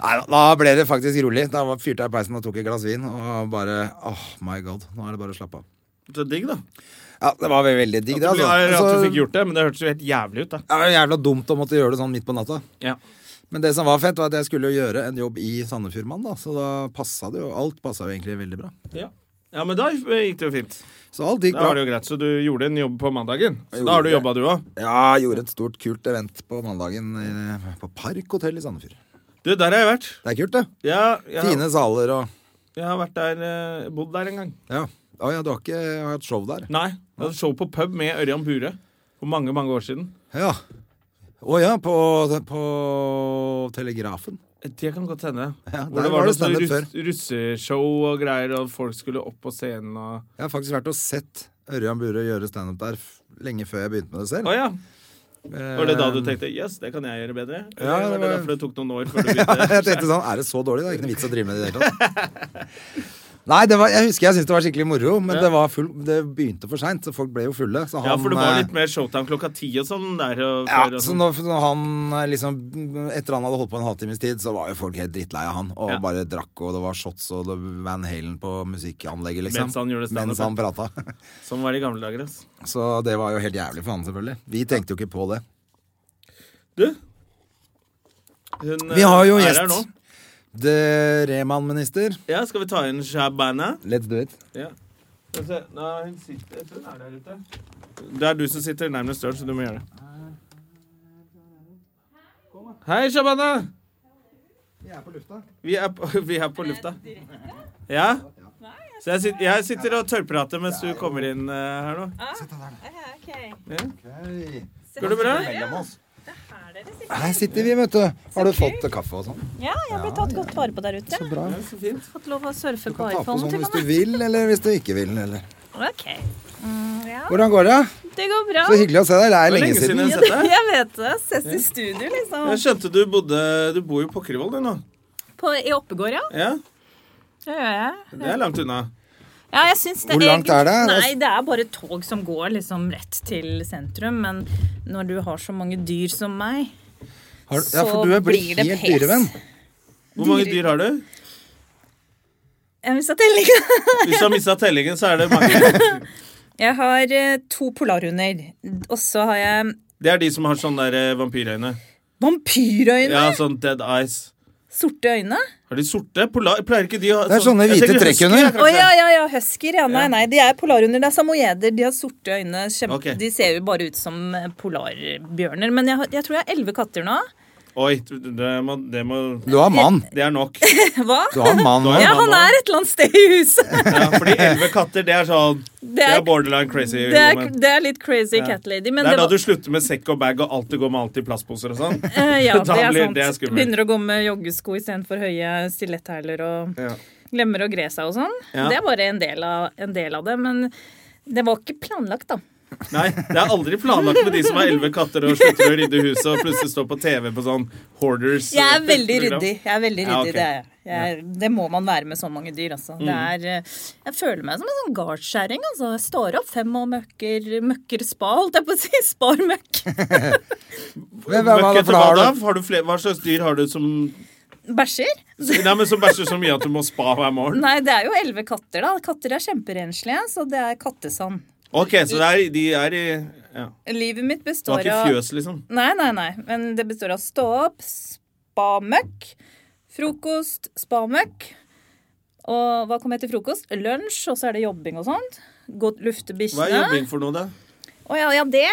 [SPEAKER 2] nei, da- da ble det faktisk rolig. Da var- fyrte jeg i peisen og tok et glass vin og bare Oh my god, nå er det bare å slappe av.
[SPEAKER 1] Så digg, da.
[SPEAKER 2] Ja, det var ve- veldig digg, det.
[SPEAKER 1] At du,
[SPEAKER 2] Altså.
[SPEAKER 1] at du fikk
[SPEAKER 2] Altså,
[SPEAKER 1] gjort det, men det hørtes jo helt jævlig ut, da.
[SPEAKER 2] det var jævla dumt å måtte gjøre det sånn midt på natta.
[SPEAKER 1] Ja.
[SPEAKER 2] Men det som var fett, var at jeg skulle jo gjøre en jobb i Sandefjordmann, da. Så da passa det jo. Alt passa jo egentlig veldig bra.
[SPEAKER 1] Ja. ja, men da gikk det jo fint.
[SPEAKER 2] Så alt gikk
[SPEAKER 1] Da var
[SPEAKER 2] bra.
[SPEAKER 1] det jo greit. Så du gjorde en jobb på mandagen. Så da har du
[SPEAKER 2] gjorde
[SPEAKER 1] jobba, du òg.
[SPEAKER 2] Ja, jeg gjorde et stort, kult event på mandagen eh, på Park hotell i Sandefjord.
[SPEAKER 1] Du, der har jeg vært.
[SPEAKER 2] Det er kult, det.
[SPEAKER 1] Ja, jeg,
[SPEAKER 2] Fine saler og
[SPEAKER 1] jeg har vært der, eh, bodd der en gang.
[SPEAKER 2] Ja. Å ja, du har ikke hatt show der?
[SPEAKER 1] Nei. Jeg hadde show på pub med Ørjan Bure for mange, mange år siden.
[SPEAKER 2] Ja. Å ja, på, på Telegrafen.
[SPEAKER 1] Det kan godt hende.
[SPEAKER 2] Ja,
[SPEAKER 1] Hvor
[SPEAKER 2] der
[SPEAKER 1] det var,
[SPEAKER 2] var det
[SPEAKER 1] noe sånn
[SPEAKER 2] standup
[SPEAKER 1] russ, russeshow og greier, og folk skulle opp på scenen og
[SPEAKER 2] Jeg har faktisk vært og sett Ørjan Burøe gjøre standup der f- lenge før jeg begynte med det
[SPEAKER 1] Å
[SPEAKER 2] selv.
[SPEAKER 1] ja. Var det da du tenkte 'yes, det kan jeg gjøre bedre'? Eller
[SPEAKER 2] Ja, det
[SPEAKER 1] var Eh. det
[SPEAKER 2] var-
[SPEAKER 1] derfor det tok noen år før du
[SPEAKER 2] Jeg
[SPEAKER 1] begynte?
[SPEAKER 2] tenkte sånn, er det så dårlig? Det er ikke noe vits å drive med det i det hele tatt. Nei, det var, jeg husker jeg syntes det var skikkelig moro, men det, var full, det begynte for seint. Så folk ble jo fulle. Så han,
[SPEAKER 1] Ja, for det var
[SPEAKER 2] eh,
[SPEAKER 1] litt mer showtime klokka ti og sånn der. Og, før
[SPEAKER 2] ja,
[SPEAKER 1] og
[SPEAKER 2] så
[SPEAKER 1] sånn.
[SPEAKER 2] når, når han eh, liksom Etter han hadde holdt på en halvtimes tid, så var jo folk helt drittlei av han. Og
[SPEAKER 1] Ja.
[SPEAKER 2] bare drakk, og det var shots og det Van Halen på musikkanlegget, liksom.
[SPEAKER 1] Mens han gjorde standup.
[SPEAKER 2] Mens han prata.
[SPEAKER 1] Sånn var det i gamle dager. ass.
[SPEAKER 2] Så det var jo helt jævlig for han, selvfølgelig. Vi tenkte jo ikke på det.
[SPEAKER 1] Du? Hun,
[SPEAKER 2] Vi har jo
[SPEAKER 1] eh, er
[SPEAKER 2] gjest.
[SPEAKER 1] her nå.
[SPEAKER 2] Det Reman-minister.
[SPEAKER 1] Ja, skal vi ta inn Shabana?
[SPEAKER 2] Let's do it.
[SPEAKER 1] Ja. Skal vi se. Nei, hun sitter Jeg tror hun er der ute. Det er du som sitter nærmest døren, så du må gjøre det. Hei, Shabana! Vi er på lufta. Vi er på, lufta. Ja? Så jeg, sit, jeg sitter og tørrprater mens du kommer inn eh, her nå. Går det bra?
[SPEAKER 2] Her sitter vi, vet du. Har du fått kaffe og sånn?
[SPEAKER 3] Ja, jeg ble tatt godt vare på der ute.
[SPEAKER 2] Så bra.
[SPEAKER 1] Så fint.
[SPEAKER 3] Fått lov å surfe på
[SPEAKER 2] Ta på
[SPEAKER 3] iPhone
[SPEAKER 2] sånn
[SPEAKER 3] til
[SPEAKER 2] hvis du
[SPEAKER 3] meg.
[SPEAKER 2] vil, eller hvis du ikke vil. Eller.
[SPEAKER 3] Ok,
[SPEAKER 2] Hvordan går det?
[SPEAKER 3] det går bra.
[SPEAKER 2] Så hyggelig å se deg. Det er
[SPEAKER 1] Det er
[SPEAKER 2] lenge siden.
[SPEAKER 1] jeg har sett deg.
[SPEAKER 3] Jeg vet det. Ses i studio, liksom.
[SPEAKER 1] Jeg skjønte du bodde Du bor jo på Pokkervoll, du nå.
[SPEAKER 3] På, I Oppegård, ja.
[SPEAKER 1] Ja,
[SPEAKER 3] Det gjør jeg.
[SPEAKER 1] det er langt unna.
[SPEAKER 3] Ja, jeg syns det
[SPEAKER 2] Hvor langt er det?
[SPEAKER 3] Nei, det er bare tog som går liksom rett til sentrum. Men når du har så mange dyr som meg
[SPEAKER 2] Har, ja,
[SPEAKER 3] Så
[SPEAKER 2] for du er
[SPEAKER 3] blir
[SPEAKER 2] blitt
[SPEAKER 3] det
[SPEAKER 2] helt
[SPEAKER 3] pes.
[SPEAKER 2] dyrevenn.
[SPEAKER 1] Hvor mange dyr har du?
[SPEAKER 3] Jeg mista tellinga.
[SPEAKER 1] Hvis du har mista tellingen, så er det mange.
[SPEAKER 3] Jeg har eh, to polarhunder. Og så har jeg
[SPEAKER 1] Det er de som har sånne der eh, vampyrøyne.
[SPEAKER 3] vampyrøyne.
[SPEAKER 1] Ja, sånn dead eyes.
[SPEAKER 3] Sorte øyne.
[SPEAKER 1] Har de sorte? Polar, pleier ikke de å ha
[SPEAKER 2] Det er sånne
[SPEAKER 1] Jeg
[SPEAKER 2] hvite
[SPEAKER 1] tenker
[SPEAKER 2] trekkhunder.
[SPEAKER 1] husky,
[SPEAKER 3] Å
[SPEAKER 1] kanskje.
[SPEAKER 3] ja, ja, ja. Husker, ja. Nei, nei. De er polarhunder. Det er samoyeder. De har sorte øyne. Kjempe...
[SPEAKER 1] Ok.
[SPEAKER 3] De ser jo bare ut som eh, polarbjørner. Men jeg, har- jeg tror jeg har elleve katter nå.
[SPEAKER 1] Oi, det må, det må
[SPEAKER 2] Du har mann.
[SPEAKER 1] Det er nok.
[SPEAKER 3] Hva?
[SPEAKER 2] Du har mann nå.
[SPEAKER 3] Ja,
[SPEAKER 1] mann
[SPEAKER 3] han
[SPEAKER 1] også.
[SPEAKER 3] er et eller annet sted i huset.
[SPEAKER 1] Ja, fordi elleve katter, det er sånn Det
[SPEAKER 3] er-
[SPEAKER 1] er borderline crazy.
[SPEAKER 3] Det er,
[SPEAKER 1] woman.
[SPEAKER 3] det er litt crazy cat lady. Men
[SPEAKER 1] det er da
[SPEAKER 3] var-
[SPEAKER 1] du slutter med sekk og bag og alltid går med alt i plastposer og sånn.
[SPEAKER 3] Eh, ja,
[SPEAKER 1] Da
[SPEAKER 3] det er
[SPEAKER 1] blir-
[SPEAKER 3] sant.
[SPEAKER 1] det er skummelt.
[SPEAKER 3] Begynner å gå med joggesko istedenfor høye stiletthæler og
[SPEAKER 1] Ja.
[SPEAKER 3] glemmer å gre seg og sånn.
[SPEAKER 1] Ja.
[SPEAKER 3] Det er bare en del, av, en del av det. Men det var ikke planlagt, da.
[SPEAKER 1] Nei, det er aldri planlagt med de som har elleve katter og slutter å rydde huset og plutselig står på TV på sånn Hoarders. eh,
[SPEAKER 3] Jeg er veldig
[SPEAKER 1] program.
[SPEAKER 3] ryddig. Jeg er veldig
[SPEAKER 1] Ja, ok.
[SPEAKER 3] ryddig,
[SPEAKER 1] Mm.
[SPEAKER 3] det er jeg. jeg. Det må man være med så mange dyr, altså. Det er, eh, jeg føler meg som en sånn gardskjæring, altså. Jeg står opp fem og møkker, møkker spa, holdt jeg på å si. Spar møkk.
[SPEAKER 2] Men hva- hva-
[SPEAKER 1] Møkkete
[SPEAKER 2] for da
[SPEAKER 1] hva
[SPEAKER 2] har
[SPEAKER 1] da?
[SPEAKER 2] du-
[SPEAKER 1] Har du flere, hva slags dyr har du som
[SPEAKER 3] Bæsjer.
[SPEAKER 1] Nei, men som bæsjer så mye at du må spa hver morgen?
[SPEAKER 3] Nei, det er jo elleve katter, da. Katter er kjemperenslige, så det er kattesand.
[SPEAKER 1] Ok, så det er, de er i ja.
[SPEAKER 3] Livet mitt
[SPEAKER 1] Det var
[SPEAKER 3] består
[SPEAKER 1] ikke
[SPEAKER 3] av
[SPEAKER 1] fjøs, liksom?
[SPEAKER 3] Nei, nei, nei. Men det består av stå opp, spamøkk, frokost, spamøkk. Og hva kommer etter frokost? Lunsj, og så er det jobbing og sånt. Gå
[SPEAKER 1] Hva er
[SPEAKER 3] lufte bikkjene.
[SPEAKER 1] jobbing for noe, da?
[SPEAKER 3] Å ja, ja, det.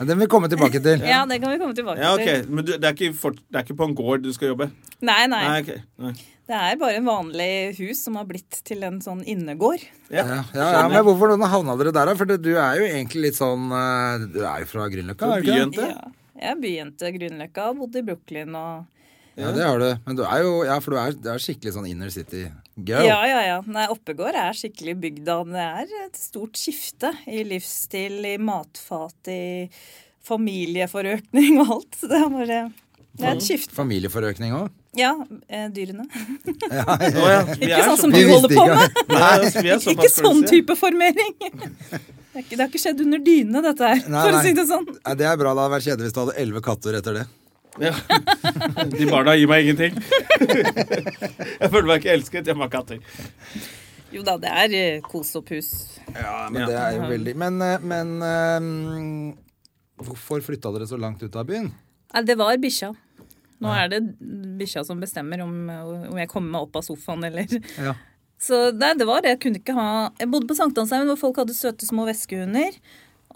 [SPEAKER 2] Ja, Den vil vi komme tilbake til.
[SPEAKER 3] Ja, det kan vi komme tilbake
[SPEAKER 1] Ja,
[SPEAKER 3] til.
[SPEAKER 1] ok, Men du, det, er ikke fort- det er ikke på en gård du skal jobbe?
[SPEAKER 3] Nei, nei,
[SPEAKER 1] Nei, ok. Nei.
[SPEAKER 3] Det er bare en vanlig hus som har blitt til en sånn innegård.
[SPEAKER 1] Ja.
[SPEAKER 2] Ja, ja, ja, men hvorfor havna dere der, da? For det- du er jo egentlig litt sånn eh, Du er jo fra Grünerløkka? er du ikke det?
[SPEAKER 1] Byjente?
[SPEAKER 3] Ja. Jeg er byjente Grünerløkka, bodde i Brooklyn og
[SPEAKER 2] Ja, det har du. Men du er jo Ja, for du er, du er skikkelig sånn inner city girl.
[SPEAKER 3] Ja, ja, ja. Nei, Oppegård er skikkelig bygda. Det er et stort skifte i livsstil, i matfat, i familieforøkning og alt. Det er bare Det
[SPEAKER 1] Mm.
[SPEAKER 3] er et skifte.
[SPEAKER 2] Familieforøkning òg.
[SPEAKER 3] Ja, eh, dyrene.
[SPEAKER 1] Å ja, vi
[SPEAKER 3] Ikke
[SPEAKER 1] er
[SPEAKER 3] sånn som
[SPEAKER 1] såpass-
[SPEAKER 3] du holder på med.
[SPEAKER 1] Nei, altså, vi er såpass
[SPEAKER 3] Ikke sånn
[SPEAKER 1] crazy.
[SPEAKER 3] type formering. Det, er ikke, det har ikke skjedd under dyne, dette her,
[SPEAKER 2] Nei,
[SPEAKER 3] for å
[SPEAKER 2] nei.
[SPEAKER 3] si det sånn.
[SPEAKER 2] Nei, det er bra. Det hadde vært kjedelig hvis du hadde elleve katter etter det.
[SPEAKER 1] Ja. De barna gir meg ingenting. Jeg føler meg ikke elsket. Jeg må ha katter.
[SPEAKER 3] Jo da, det er eh, kosopphus.
[SPEAKER 2] Ja, men det er jo veldig Men, eh, men eh, Hvorfor flytta dere så langt ut av byen?
[SPEAKER 3] Nei, det var bikkja. Nå er det bikkja som bestemmer om, om jeg kommer meg opp av sofaen eller
[SPEAKER 2] Ja.
[SPEAKER 3] Så nei, det var det. Jeg kunne ikke ha Jeg bodde på Sankthanshaugen hvor folk hadde søte små veskehunder.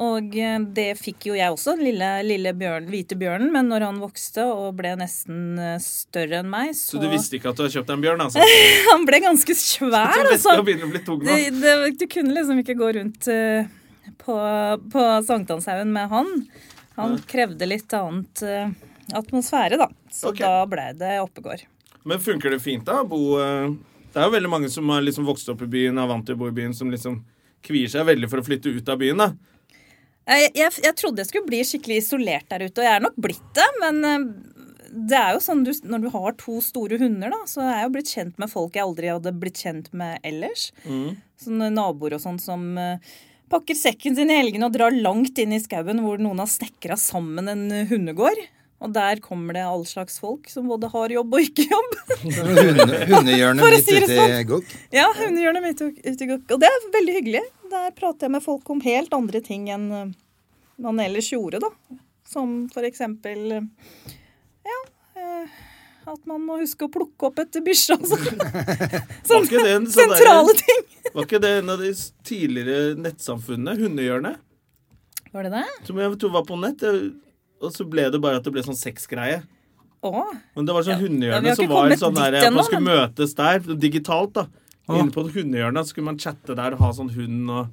[SPEAKER 3] Og eh, det fikk jo jeg også, den lille, lille bjørn, hvite bjørnen. Men når han vokste og ble nesten eh, større enn meg, så,
[SPEAKER 1] Så du visste ikke at du har kjøpt deg en bjørn, altså?
[SPEAKER 3] Han ble ganske svær,
[SPEAKER 1] Så
[SPEAKER 3] altså.
[SPEAKER 1] veska begynner å bli tung nå.
[SPEAKER 3] Det, det, du kunne liksom ikke gå rundt eh, på, på Sankthanshaugen med han. Han krevde litt annet eh, atmosfære, da. Så
[SPEAKER 1] Ok.
[SPEAKER 3] da blei det Oppegård.
[SPEAKER 1] Men funker det fint, da? å Bo eh, Det er jo veldig mange som har liksom vokst opp i byen, er vant til å bo i byen, som liksom kvier seg veldig for å flytte ut av byen, da.
[SPEAKER 3] Eh, Jeg, jeg, jeg trodde jeg skulle bli skikkelig isolert der ute, og jeg er nok blitt det. Men eh, det er jo sånn du, når du har to store hunder, da, så er jeg jo blitt kjent med folk jeg aldri hadde blitt kjent med ellers. Sånne naboer og sånn som eh, pakker sekken sin i helgene og drar langt inn i skauen hvor noen har snekra sammen en hundegård. Og der kommer det all slags folk som både har jobb og ikke jobb.
[SPEAKER 2] Hunde, hundehjørnet
[SPEAKER 3] For å
[SPEAKER 2] mitt
[SPEAKER 3] si det
[SPEAKER 2] ute i
[SPEAKER 3] sånn.
[SPEAKER 2] gokk.
[SPEAKER 3] Ja, hundehjørnet mitt tok- ute i gokk. Og det er veldig hyggelig. Der prater jeg med folk om helt andre ting enn eh, man ellers gjorde, da. Som for eksempel eh, Ja. eh, At man må huske å plukke opp etter bikkja. Altså.
[SPEAKER 1] Var ikke det en
[SPEAKER 3] Sånne
[SPEAKER 1] sånn der-
[SPEAKER 3] sentrale ting.
[SPEAKER 1] Var ikke det en av de s- tidligere nettsamfunnene? Hundehjørnet?
[SPEAKER 3] Var det det?
[SPEAKER 1] Som jeg tror var på nett. det- Og så ble det bare at det ble sånn sexgreie.
[SPEAKER 3] Å.
[SPEAKER 1] Men det var sånn
[SPEAKER 3] ja, vi
[SPEAKER 1] hundehjørne
[SPEAKER 3] har
[SPEAKER 1] som
[SPEAKER 3] ikke
[SPEAKER 1] var
[SPEAKER 3] kommet
[SPEAKER 1] sånn
[SPEAKER 3] dit
[SPEAKER 1] der at man
[SPEAKER 3] ennå,
[SPEAKER 1] skulle
[SPEAKER 3] men-
[SPEAKER 1] møtes der, digitalt, da. Inne på hundehjørnet så skulle man chatte der og ha sånn hund og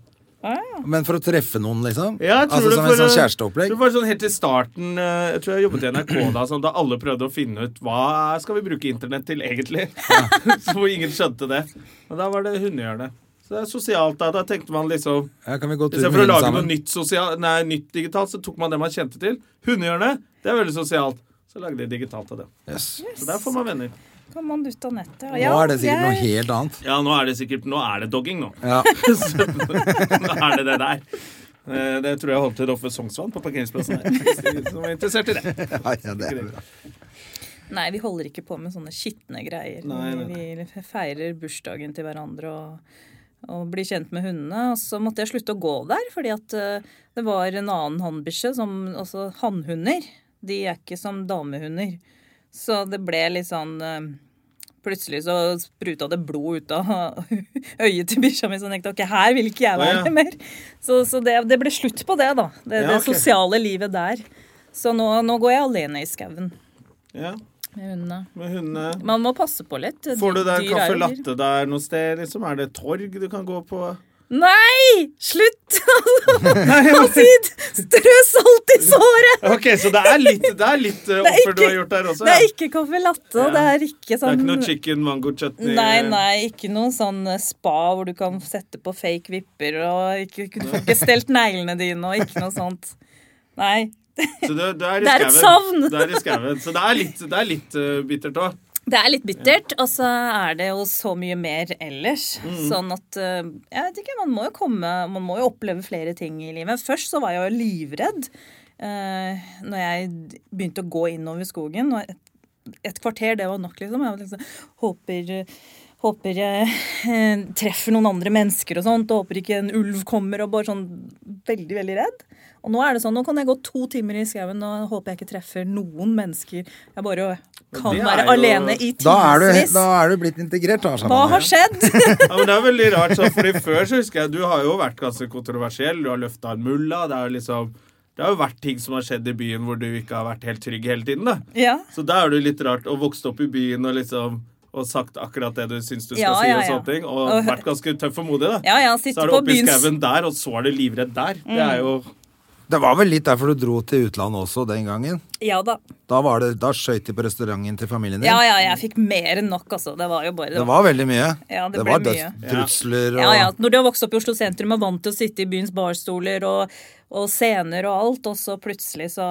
[SPEAKER 2] Men for å treffe noen, liksom?
[SPEAKER 1] Ja, jeg tror
[SPEAKER 2] altså
[SPEAKER 1] det
[SPEAKER 2] Som
[SPEAKER 1] for-
[SPEAKER 2] en sånn
[SPEAKER 1] Det
[SPEAKER 2] kjæresteopplegg?
[SPEAKER 1] var sånn helt i starten eh, Jeg tror jeg jobbet i NRK da, sånn, da alle prøvde å finne ut hva skal vi bruke internett til egentlig. så hvor ingen skjønte det. Og da var det hundehjørnet. Så det er sosialt da. Da tenkte man liksom
[SPEAKER 2] Ja, kan vi gå tur med
[SPEAKER 1] Istedenfor å
[SPEAKER 2] hunden
[SPEAKER 1] lage noe
[SPEAKER 2] sammen?
[SPEAKER 1] nytt, sosial, nei, nytt digitalt, så tok man det man kjente til. Hundehjørnet, det er veldig sosialt. Så lagde de digitalt av det.
[SPEAKER 2] Yes.
[SPEAKER 1] Så der får man venner.
[SPEAKER 3] Kom man ut av nettet.
[SPEAKER 2] Nå er det sikkert noe helt annet.
[SPEAKER 1] Ja, nå er det sikkert Nå er det dogging, nå.
[SPEAKER 2] Ja.
[SPEAKER 1] Så, nå er det det der. Eh, Det tror jeg holdt til oppe ved Sognsvann, på parkeringsplassen der. Hvis de Som er interessert i det.
[SPEAKER 2] Ja, ja, det er bra.
[SPEAKER 3] Nei, vi holder ikke på med sånne skitne greier.
[SPEAKER 1] Nei, nei,
[SPEAKER 3] Vi feirer bursdagen til hverandre og, og blir kjent med hundene. Og så måtte jeg slutte å gå der, fordi at eh, det var en annen hannbikkje som Altså hannhunder. De er ikke som damehunder. Så det ble litt sånn eh, Plutselig så spruta det blod ut av øyet til bikkja mi. Så jeg tenkte ok, her vil ikke jeg
[SPEAKER 1] Å, ja.
[SPEAKER 3] være mer. Så, så det, det ble slutt på det, da. Det,
[SPEAKER 1] Ja,
[SPEAKER 3] det
[SPEAKER 1] ok.
[SPEAKER 3] sosiale livet der. Så nå, nå går jeg alene i skauen
[SPEAKER 1] Ja,
[SPEAKER 3] med hundene.
[SPEAKER 1] med hundene.
[SPEAKER 3] Man må passe på litt.
[SPEAKER 1] Får du deg en
[SPEAKER 3] Dyr er
[SPEAKER 1] kaffe
[SPEAKER 3] jo dyr.
[SPEAKER 1] latte der noe sted? Liksom? Er det et torg du kan gå på?
[SPEAKER 3] Nei! Slutt! Sid, strø salt i såret!
[SPEAKER 1] Ok, Så det er litt, det er litt eh,
[SPEAKER 3] Det er
[SPEAKER 1] offer du
[SPEAKER 3] ikke-
[SPEAKER 1] har gjort der også?
[SPEAKER 3] Det er
[SPEAKER 1] ja.
[SPEAKER 3] ikke kaffe latte, og det er ikke
[SPEAKER 1] det er
[SPEAKER 3] sånn
[SPEAKER 1] ikke noe chicken mango chutney?
[SPEAKER 3] Nei, nei, ikke noe sånn spa hvor du kan sette på fake vipper og ikke, du får ikke stelt neglene dine og ikke noe sånt. Nei.
[SPEAKER 1] Så det, det er, i
[SPEAKER 3] Det er et
[SPEAKER 1] skauen.
[SPEAKER 3] savn.
[SPEAKER 1] Det er i skauen. Så det er litt, det er litt eh, bittert òg.
[SPEAKER 3] Det er litt bittert, og så er det jo så mye mer ellers. Sånn at eh, Jeg vet ikke, man må jo komme Man må jo oppleve flere ting i livet. Først så var jeg jo livredd eh, når jeg begynte å gå innover skogen. Og et, et kvarter, det var nok, liksom. Jeg var liksom håper eh, Håper jeg eh, treffer noen andre mennesker og sånt. Og håper ikke en ulv kommer og bare sånn veldig, veldig redd. Og nå er det sånn, nå kan jeg gå to timer i skauen og håper jeg ikke treffer noen mennesker. Jeg bare kan
[SPEAKER 1] Det er
[SPEAKER 3] være
[SPEAKER 1] jo-
[SPEAKER 3] alene i
[SPEAKER 2] Da er, du,
[SPEAKER 3] timevis.
[SPEAKER 2] da er du blitt integrert, da.
[SPEAKER 3] Hva
[SPEAKER 2] Shabana.
[SPEAKER 3] har skjedd?
[SPEAKER 1] Ja, men det er veldig rart, så, fordi Før så husker jeg du har jo vært ganske kontroversiell. Du har løfta en mulla. Det, er jo liksom, det har jo vært ting som har skjedd i byen hvor du ikke har vært helt trygg hele tiden. da.
[SPEAKER 3] ja.
[SPEAKER 1] Så da er det jo litt rart å vokse opp i byen og liksom og sagt akkurat det du syns du skal
[SPEAKER 3] Ja,
[SPEAKER 1] si,
[SPEAKER 3] ja,
[SPEAKER 1] og
[SPEAKER 3] ja.
[SPEAKER 1] sånne ting. Og
[SPEAKER 3] Og-
[SPEAKER 1] vært ganske tøff og modig, da.
[SPEAKER 3] ja, ja,
[SPEAKER 1] Så
[SPEAKER 3] sitte
[SPEAKER 1] er du
[SPEAKER 3] på
[SPEAKER 1] oppe i
[SPEAKER 3] byens Mm.
[SPEAKER 1] skauen der, og så er du livredd der. Det er jo
[SPEAKER 2] Det var vel litt derfor du dro til utlandet også den gangen?
[SPEAKER 3] Ja da.
[SPEAKER 2] Da, var det, da skjøt de på restauranten til familien din?
[SPEAKER 3] Ja, ja, jeg fikk mer enn nok, altså. Det var jo bare
[SPEAKER 2] Det var veldig mye.
[SPEAKER 3] Ja, det
[SPEAKER 2] det
[SPEAKER 3] ble
[SPEAKER 2] var
[SPEAKER 3] mye.
[SPEAKER 2] dødstrusler og
[SPEAKER 3] Ja, ja. Når du har vokst opp i Oslo sentrum og vant til å sitte i byens barstoler og, og scener og alt, og så plutselig så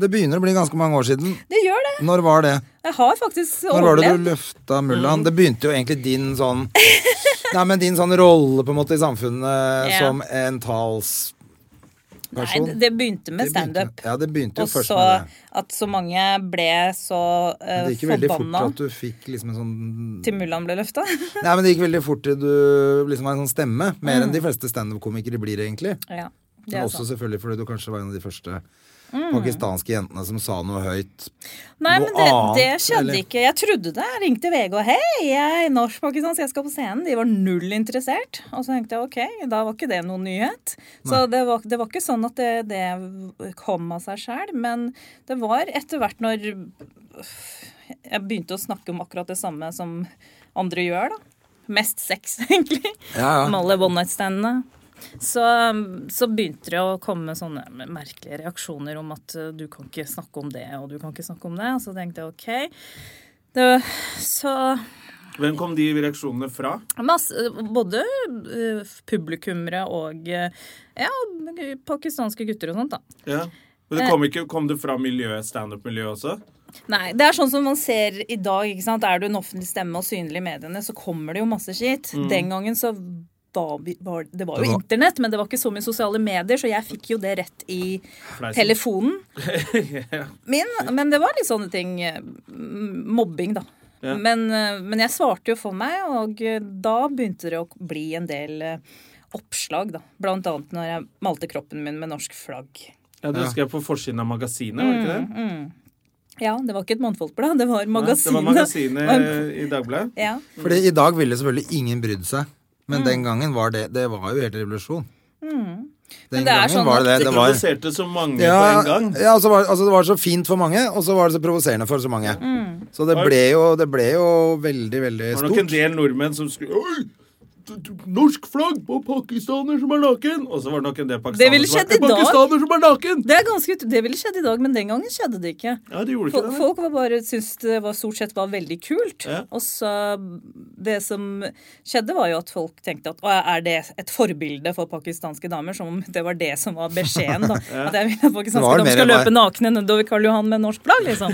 [SPEAKER 2] Det begynner å bli ganske mange år siden.
[SPEAKER 3] Det gjør det. Mm.
[SPEAKER 2] Når var det?
[SPEAKER 3] Jeg har faktisk
[SPEAKER 2] Når var det du
[SPEAKER 3] overlevd.
[SPEAKER 2] løfta mullaen? Det begynte jo egentlig din sånn Nei, men din sånn rolle på en måte i samfunnet
[SPEAKER 3] Ja.
[SPEAKER 2] som en talsperson.
[SPEAKER 3] Nei, det- det begynte med
[SPEAKER 2] Det begynte-
[SPEAKER 3] standup.
[SPEAKER 2] Ja, det begynte jo
[SPEAKER 3] Og
[SPEAKER 2] først
[SPEAKER 3] så
[SPEAKER 2] med det.
[SPEAKER 3] at så mange ble så
[SPEAKER 2] Men
[SPEAKER 3] uh,
[SPEAKER 2] det gikk jo veldig fort
[SPEAKER 3] forbanna
[SPEAKER 2] til at du fikk liksom en sånn
[SPEAKER 3] til mullaen ble løfta.
[SPEAKER 2] Nei, men det gikk veldig fort til du liksom var en sånn stemme. Mer enn de fleste standup-komikere blir, egentlig.
[SPEAKER 3] ja, Mm. det
[SPEAKER 2] Men
[SPEAKER 3] er
[SPEAKER 2] også
[SPEAKER 3] sant. Mm.
[SPEAKER 2] selvfølgelig fordi du kanskje var en av de første pakistanske jentene som sa noe høyt.
[SPEAKER 3] Nei,
[SPEAKER 2] noe
[SPEAKER 3] men det, det
[SPEAKER 2] annet,
[SPEAKER 3] skjedde
[SPEAKER 2] eller?
[SPEAKER 3] ikke. Jeg trodde det. Jeg ringte VG og hei, jeg er norsk-pakistansk, jeg skal på scenen. De var null interessert. Og så tenkte jeg ok, da var ikke det noen nyhet. Så det var, det var ikke sånn at det, det kom av seg sjæl. Men det var etter hvert når øh, jeg begynte å snakke om akkurat det samme som andre gjør, da. Mest sex, egentlig.
[SPEAKER 2] Ja, ja.
[SPEAKER 3] Med alle one night-standene. Så, så begynte det å komme sånne merkelige reaksjoner om at eh, du kan ikke snakke om det, og du kan ikke snakke om det. Og så tenkte jeg OK. Det, så
[SPEAKER 1] Hvem kom de reaksjonene fra?
[SPEAKER 3] Masse, både eh, publikummere og eh, ja, pakistanske gutter og sånt, da.
[SPEAKER 1] Ja. Men det
[SPEAKER 3] Eh.
[SPEAKER 1] kom, ikke, kom det fra miljøet, standup-miljøet også?
[SPEAKER 3] Nei, det er sånn som man ser i dag. ikke sant? Er du en offentlig stemme og synlig i mediene, så kommer det jo masse skitt. Den gangen så var, vi- var Det var
[SPEAKER 2] Mm.
[SPEAKER 3] jo
[SPEAKER 2] Det var-
[SPEAKER 3] internett, men det var ikke så mye sosiale medier, så jeg fikk jo det rett i
[SPEAKER 1] Fleisen.
[SPEAKER 3] telefonen min. Men det var litt sånne ting. eh, m- Mobbing, da.
[SPEAKER 1] Ja.
[SPEAKER 3] Men, eh, men jeg svarte jo for meg, og eh, da begynte det å bli en del eh, oppslag, da. Blant annet når jeg malte kroppen min med norsk flagg.
[SPEAKER 1] Ja, Det husker jeg på forsiden av magasinet, var det
[SPEAKER 3] Mm.
[SPEAKER 1] ikke det?
[SPEAKER 3] Ja, det var ikke et mannfolkblad, det
[SPEAKER 1] Nei,
[SPEAKER 3] var
[SPEAKER 1] Det var
[SPEAKER 3] magasinet.
[SPEAKER 1] magasinet i Dagbladet.
[SPEAKER 3] Ja.
[SPEAKER 2] Fordi i dag ville selvfølgelig ingen brydd seg.
[SPEAKER 3] Mm.
[SPEAKER 2] Men den gangen var det Det var jo helt revolusjon. Den
[SPEAKER 3] Men det er
[SPEAKER 2] gangen
[SPEAKER 3] sånn
[SPEAKER 2] var
[SPEAKER 3] at
[SPEAKER 2] det det.
[SPEAKER 1] Det
[SPEAKER 2] Det var,
[SPEAKER 1] provoserte så mange på en
[SPEAKER 2] ja,
[SPEAKER 1] gang.
[SPEAKER 2] ja altså, var, altså det var så fint for mange, og så var det så provoserende for så mange.
[SPEAKER 3] Mm.
[SPEAKER 2] Så det ble, jo, det ble jo veldig, veldig
[SPEAKER 1] Det var nok en
[SPEAKER 2] stort.
[SPEAKER 1] del nordmenn som skulle Oi! d- d- Norsk flagg på pakistaner som er naken! Og så var det nok en del
[SPEAKER 3] Det
[SPEAKER 1] pakistanere
[SPEAKER 3] ville
[SPEAKER 1] som var
[SPEAKER 3] skjedd i dag.
[SPEAKER 1] Pakistaner som er naken!
[SPEAKER 3] Det, er ganske, ut- det ville skjedd i dag, men den gangen skjedde det ikke.
[SPEAKER 1] Ja, det gjorde ikke
[SPEAKER 3] Folk,
[SPEAKER 1] det.
[SPEAKER 3] folk var bare, syntes det var stort sett var veldig kult.
[SPEAKER 1] Ja.
[SPEAKER 3] Og så Det som skjedde, var jo at folk tenkte at «Å, er det et forbilde for pakistanske damer? Som om det var det som var beskjeden. da. At jeg vil at
[SPEAKER 2] Det var
[SPEAKER 3] pakistanske damer
[SPEAKER 2] mer
[SPEAKER 3] skal
[SPEAKER 2] bare-
[SPEAKER 3] løpe nakne nedover Karl Johan med norsk flagg, liksom.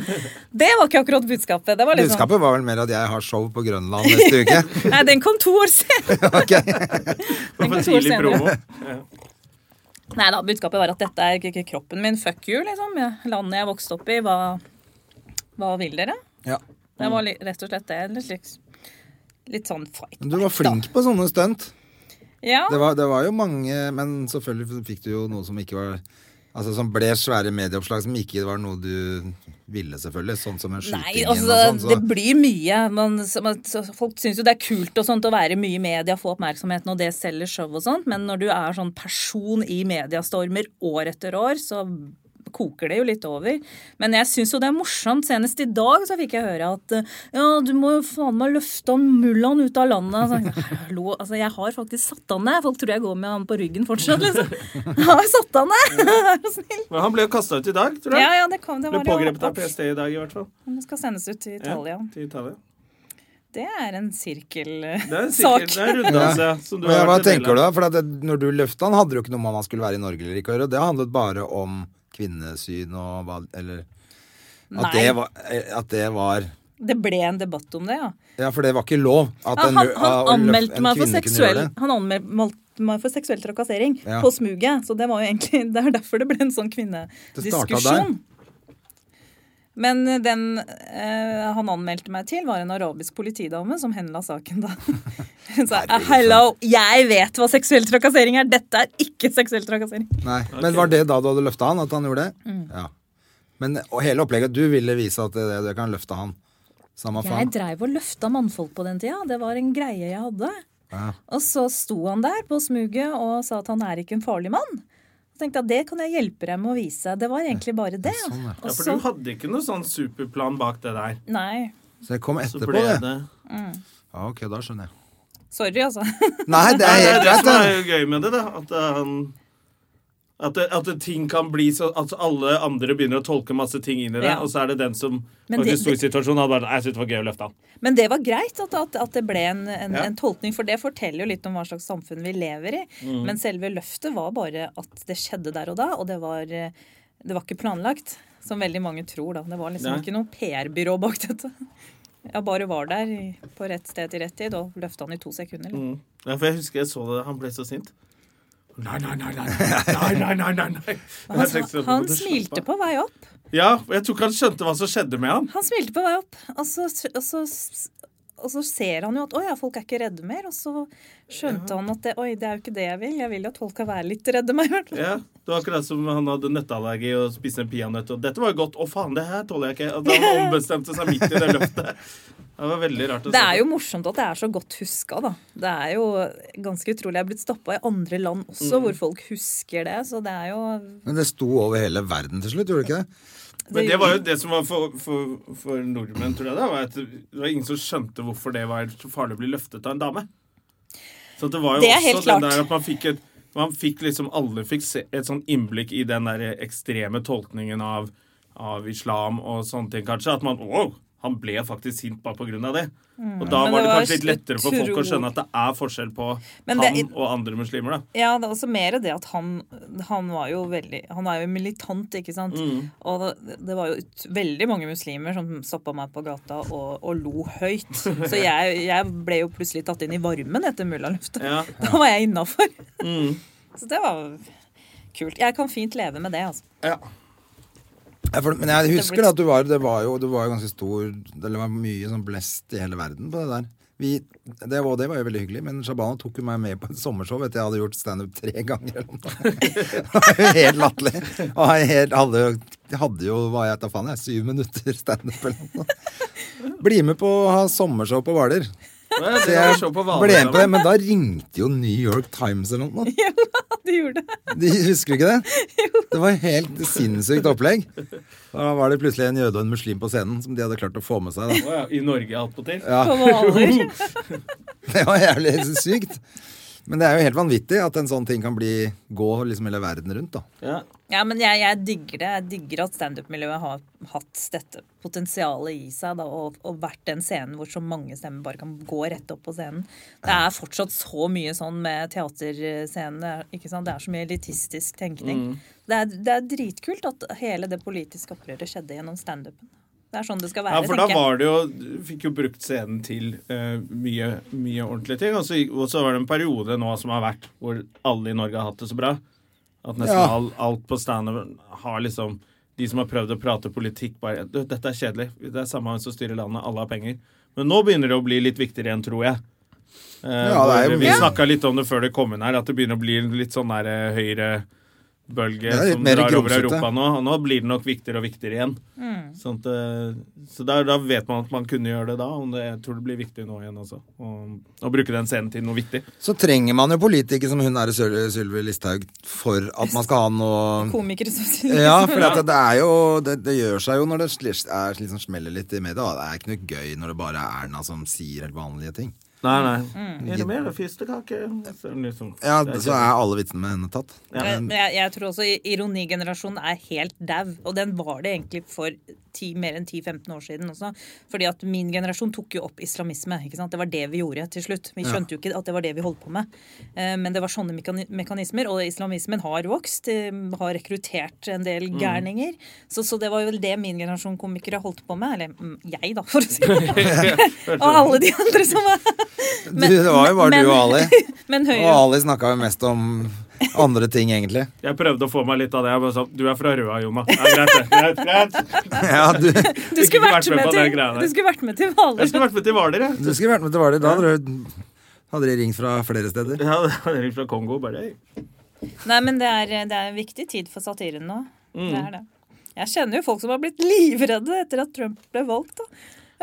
[SPEAKER 3] Det var ikke akkurat budskapet. Det var liksom,
[SPEAKER 2] Budskapet var vel mer at jeg har show på Grønland neste uke.
[SPEAKER 3] Nei, den kom to år senere.
[SPEAKER 2] Ok.
[SPEAKER 1] Det var
[SPEAKER 3] Tenk
[SPEAKER 1] for
[SPEAKER 3] at to år
[SPEAKER 1] tidlig
[SPEAKER 3] senere.
[SPEAKER 1] promo.
[SPEAKER 3] Nei da, budskapet var at dette er ikke- ikke kroppen min. Fuck you, liksom. Jeg- Landet jeg vokste opp i, hva, hva vil dere?
[SPEAKER 2] Ja.
[SPEAKER 3] Det var li- rett og slett det. Litt, litt, litt sånn fight.
[SPEAKER 2] Men Du var flink på sånne stunt.
[SPEAKER 3] Ja.
[SPEAKER 2] Det var, det var jo mange, men selvfølgelig fikk du jo noe som ikke var Altså som ble svære medieoppslag som ikke var noe du ville, selvfølgelig. Sånn som en
[SPEAKER 3] Nei,
[SPEAKER 2] skyting
[SPEAKER 3] altså,
[SPEAKER 2] og sånn. Så.
[SPEAKER 3] det blir mye. Man, så- man, så, folk syns jo det er kult og sånt å være mye i media, få oppmerksomheten, og det selger show og sånt, men når du er sånn person i mediestormer år etter år, så koker det jo litt over. Men jeg syns jo det er morsomt. Senest i dag så fikk jeg høre at eh, ja, du må jo faen meg løfte han mullaen ut av landet. Så, jeg, Hallo, altså jeg har faktisk satt han ned. Folk tror jeg går med han på ryggen fortsatt, liksom. Jeg har satt han ned! Vær så snill.
[SPEAKER 1] Men han ble jo kasta ut i dag, tror
[SPEAKER 3] Ja,
[SPEAKER 1] jeg.
[SPEAKER 3] ja, det kom. Det
[SPEAKER 1] Ble
[SPEAKER 3] var
[SPEAKER 1] pågrepet av
[SPEAKER 3] det.
[SPEAKER 1] PST i dag, i hvert fall.
[SPEAKER 3] Den skal sendes ut til
[SPEAKER 1] Ja,
[SPEAKER 3] Italia.
[SPEAKER 1] til Italia.
[SPEAKER 3] Det er en eh, sirkelsak.
[SPEAKER 1] Det er sikkert det er en runddans, ja. Som du
[SPEAKER 2] Men
[SPEAKER 1] har
[SPEAKER 2] hva
[SPEAKER 1] vært en del
[SPEAKER 2] tenker
[SPEAKER 1] av.
[SPEAKER 2] du da? For at det, når du løfta han, hadde det jo ikke noe om han skulle være i Norge eller ikke å gjøre. Det handlet bare om kvinnesyn og hva Eller
[SPEAKER 3] Nei,
[SPEAKER 2] at det, var, at det var
[SPEAKER 3] det ble en debatt om det, ja.
[SPEAKER 2] Ja, for det var ikke lov. At en-
[SPEAKER 3] Han, han,
[SPEAKER 2] å
[SPEAKER 3] han
[SPEAKER 2] løfte-
[SPEAKER 3] anmeldte
[SPEAKER 2] en
[SPEAKER 3] meg for
[SPEAKER 2] kvinne kunne
[SPEAKER 3] seksuell,
[SPEAKER 2] gjøre det.
[SPEAKER 3] han anmeldte meg for seksuell trakassering
[SPEAKER 2] Ja.
[SPEAKER 3] på smuget. Så det var jo egentlig, det er derfor det ble en sånn
[SPEAKER 2] startet
[SPEAKER 3] kvinnediskusjon. Men den eh, han anmeldte meg til, var en arabisk politidame som henla saken da. Hun sa hello, jeg vet hva seksuell trakassering er, dette er ikke seksuell trakassering.
[SPEAKER 2] Nei. Men var det da du hadde løfta han, at han gjorde det? Ja. Men og hele opplegget Du ville vise at det, det kan løfte han. Samme
[SPEAKER 3] Jeg
[SPEAKER 2] faen.
[SPEAKER 3] dreiv og løfta mannfolk på den tida. Det var en greie jeg hadde.
[SPEAKER 2] Ja.
[SPEAKER 3] Og så sto han der på smuget og sa at han er ikke en farlig mann. Og tenkte at det kan jeg hjelpe deg med å vise. Det var egentlig bare det. altså.
[SPEAKER 1] Ja,
[SPEAKER 3] Og
[SPEAKER 1] for
[SPEAKER 3] så,
[SPEAKER 1] du hadde ikke noe sånn superplan bak det der.
[SPEAKER 3] nei,
[SPEAKER 2] Så det kom
[SPEAKER 1] Så
[SPEAKER 2] etterpå,
[SPEAKER 1] ble
[SPEAKER 2] det.
[SPEAKER 1] det
[SPEAKER 2] Ja, ok, da skjønner jeg.
[SPEAKER 3] sorry altså.
[SPEAKER 2] Nei, det er
[SPEAKER 1] Nei, det er
[SPEAKER 2] helt
[SPEAKER 1] det
[SPEAKER 2] greit,
[SPEAKER 1] som er
[SPEAKER 2] det.
[SPEAKER 1] jo gøy med det, da. At det, er han- at, det, at det ting kan bli så At alle andre begynner å tolke masse ting inn i det,
[SPEAKER 3] Ja.
[SPEAKER 1] og så er det den som
[SPEAKER 3] Men
[SPEAKER 1] var i
[SPEAKER 3] det-
[SPEAKER 1] historiesituasjonen hadde bare Jeg synes det var gøy å løfte han.
[SPEAKER 3] Men det var greit at, at, at det ble en, en,
[SPEAKER 1] Ja.
[SPEAKER 3] en tolkning, for det forteller jo litt om hva slags samfunn vi lever i.
[SPEAKER 1] Mm.
[SPEAKER 3] Men selve løftet var bare at det skjedde der og da, og det var, eh, det var ikke planlagt. Som veldig mange tror, da. Det var liksom
[SPEAKER 1] Nei.
[SPEAKER 3] ikke noe PR-byrå bak dette. Jeg bare var der i, på rett sted til rett tid og løfta han i to sekunder.
[SPEAKER 1] Mm.
[SPEAKER 3] liksom.
[SPEAKER 1] Ja, for jeg husker jeg så det, han ble så sint. Nei, nei, nei, nei. nei, nei, nei, nei, nei. Jeg
[SPEAKER 3] Han,
[SPEAKER 1] tenkte, sånn,
[SPEAKER 3] han
[SPEAKER 1] "Må du slappe
[SPEAKER 3] smilte
[SPEAKER 1] av?"
[SPEAKER 3] på vei opp.
[SPEAKER 1] Ja, og jeg tror ikke han skjønte hva som skjedde med han.
[SPEAKER 3] Han smilte på vei opp, og så, og så, og så ser han jo at 'Å ja, folk er ikke redde mer'. Og så skjønte han at det, 'Oi, det er jo ikke det jeg vil. Jeg vil jo at folk skal være litt redde meg'. i hvert fall.
[SPEAKER 1] Ja, det var akkurat som han hadde nøtteallergi og spiste en peanøtt. Og dette var jo godt. Å, faen, det her tåler jeg ikke. Altså, han ombestemte seg midt i det løftet. Det var veldig rart å
[SPEAKER 3] Det
[SPEAKER 1] se
[SPEAKER 3] er
[SPEAKER 1] på.
[SPEAKER 3] jo morsomt at det er så godt huska, da. Det er jo ganske utrolig. Jeg er blitt stappa i andre land også, hvor folk husker det. Så det er jo
[SPEAKER 2] Men det sto over hele verden til slutt, gjorde det ikke det?
[SPEAKER 1] Men det var jo det som var for, for, for nordmenn, tror jeg, da, var at det var ingen som skjønte hvorfor det var så farlig å bli løftet av en dame. Så det var jo
[SPEAKER 3] Det er
[SPEAKER 1] også den
[SPEAKER 3] helt klart.
[SPEAKER 1] der at man fikk et man fikk liksom Alle fikk se, et sånn innblikk i den der ekstreme tolkningen av, av islam og sånne ting, kanskje. At man Wow! han ble faktisk sint bare på grunn av det. Og da var
[SPEAKER 3] Mm. Men
[SPEAKER 1] det
[SPEAKER 3] det var
[SPEAKER 1] kanskje litt lettere for folk å
[SPEAKER 3] utro-
[SPEAKER 1] skjønne at det er forskjell på
[SPEAKER 3] Men
[SPEAKER 1] han
[SPEAKER 3] det-
[SPEAKER 1] og andre muslimer, da.
[SPEAKER 3] Ja, det er også mer det at han, han var jo veldig Han er jo militant, ikke sant? Og det, det var jo ut, veldig mange muslimer som stoppa meg på gata og, og lo høyt. Så jeg, jeg ble jo plutselig tatt inn i varmen etter mullalufta.
[SPEAKER 1] Ja.
[SPEAKER 3] Da var jeg innafor. Så det var kult. Jeg kan fint leve med det, altså.
[SPEAKER 2] Ja, for, men jeg
[SPEAKER 3] Det
[SPEAKER 2] husker
[SPEAKER 3] blir-
[SPEAKER 2] at du var, det var jo, du var jo ganske stor Det var mye sånn blest i hele verden på det der. Vi, det, var, det var jo veldig hyggelig, men Shabana tok jo meg med på et sommershow. Vet du, jeg hadde gjort standup tre ganger eller noe. Det var jo helt latterlig. Og jeg helt, hadde, jo- hadde jo hva jeg tar faen jeg, syv minutter standup eller noe. Bli med på å ha sommershow på Hvaler.
[SPEAKER 1] Ja, det
[SPEAKER 2] Så
[SPEAKER 1] kan vi
[SPEAKER 2] jeg
[SPEAKER 1] se på
[SPEAKER 2] ble
[SPEAKER 1] Hvaler,
[SPEAKER 2] med på det, men da ringte jo New York Times eller noe.
[SPEAKER 3] De gjorde det.
[SPEAKER 2] De husker du ikke det? Det var helt sinnssykt opplegg. Da var det plutselig en jøde og en muslim på scenen som de hadde klart å få med seg. Da.
[SPEAKER 1] Å ja, I Norge attpåtil?
[SPEAKER 3] På Hvaler.
[SPEAKER 2] Det var jævlig sykt. Men det er jo helt vanvittig at en sånn ting kan bli, gå liksom hele verden rundt. da.
[SPEAKER 1] Ja.
[SPEAKER 3] Ja, men jeg, jeg digger det. Jeg digger at standup-miljøet har hatt dette potensialet i seg. Da, og, og vært den scenen hvor så mange stemmer bare kan gå rett opp på scenen. Det er fortsatt så mye sånn med teaterscenen. det er- Ikke sant? Det er så mye elitistisk tenkning.
[SPEAKER 1] Mm.
[SPEAKER 3] Det, er, det er dritkult at hele det politiske opprøret skjedde gjennom standupen. Det er sånn det skal være.
[SPEAKER 1] Ja, for da
[SPEAKER 3] tenker jeg.
[SPEAKER 1] var det jo du Fikk jo brukt scenen til eh, mye, mye ordentlige ting. Og så, og så var det en periode nå som har vært hvor alle i Norge har hatt det så bra. At nesten
[SPEAKER 2] Ja.
[SPEAKER 1] all, alt på standup har liksom De som har prøvd å prate politikk, bare du, 'Dette er kjedelig. Det er samme hvem som styrer landet. Alle har penger.' Men nå begynner det å bli litt viktigere igjen, tror jeg. Eh,
[SPEAKER 2] Ja, det er jo
[SPEAKER 1] hvor vi
[SPEAKER 2] mye-
[SPEAKER 1] snakka litt om det før det kom inn her, at det begynner å bli litt sånn der eh, høyrebølge
[SPEAKER 2] er litt
[SPEAKER 1] som
[SPEAKER 2] mer
[SPEAKER 1] drar over
[SPEAKER 2] grumsete.
[SPEAKER 1] Europa nå. Og nå blir det nok viktigere og viktigere igjen.
[SPEAKER 3] Mm.
[SPEAKER 1] Sånn at, eh, så der, da vet man at man kunne gjøre det da. Om det, jeg tror det blir viktig nå igjen også. Å å bruke den scenen til noe viktig.
[SPEAKER 2] Så trenger man jo politikere som hun der Syl- Sylvi Listhaug for at man skal ha noe
[SPEAKER 3] Komikere som
[SPEAKER 2] ja, for at det er jo Det, det gjør seg jo når det sli- er, liksom smeller litt i media. da. Det er ikke noe gøy når det bare er Erna som sier helt vanlige ting.
[SPEAKER 1] Nei, nei.
[SPEAKER 3] Mm.
[SPEAKER 1] Er det mer fyrstekake? Så er det liksom-
[SPEAKER 2] Ja,
[SPEAKER 1] det er
[SPEAKER 2] Så er alle vitsene med henne tatt.
[SPEAKER 3] Men Eh, men jeg, jeg tror også i- ironigenerasjonen er helt dau, og den var det egentlig for 10, mer enn 10-15 år siden også. Fordi at min generasjon tok jo opp islamisme. ikke sant? Det var det vi gjorde til slutt. Vi skjønte jo ikke at det var det vi holdt på med. Eh, Men det var sånne mekani- mekanismer, og islamismen har vokst. eh, Har rekruttert en del
[SPEAKER 2] Mm.
[SPEAKER 3] gærninger. Så, så det var jo det min generasjon komikere holdt på med. Eller mm, jeg, da, for å si det. og alle de andre som var Men-
[SPEAKER 2] du, det var jo bare
[SPEAKER 3] men-
[SPEAKER 2] du og Ali.
[SPEAKER 3] Men
[SPEAKER 2] Og
[SPEAKER 3] Høyre
[SPEAKER 2] Ali snakka jo mest om andre ting, egentlig.
[SPEAKER 1] Jeg prøvde å få meg litt av det. Jeg bare sa du er fra Røa, Jonna. Ja, greit, det. greit, greit.
[SPEAKER 2] Ja, du,
[SPEAKER 3] Du skulle
[SPEAKER 1] Ikke
[SPEAKER 3] vært
[SPEAKER 1] vært med
[SPEAKER 3] med
[SPEAKER 1] på den
[SPEAKER 3] til,
[SPEAKER 1] greia der.
[SPEAKER 3] du skulle vært med til Hvaler.
[SPEAKER 1] Jeg skulle vært med til Hvaler, jeg.
[SPEAKER 2] du skulle vært med til Hvaler. Da hadde, du, hadde de ringt fra flere steder.
[SPEAKER 1] Ja, det er fra Kongo. Bare «Hei».
[SPEAKER 3] Nei, men det er, det er en viktig tid for satiren nå.
[SPEAKER 1] Mm.
[SPEAKER 3] Det er det. Jeg kjenner jo folk som har blitt livredde etter at Trump ble valgt. da.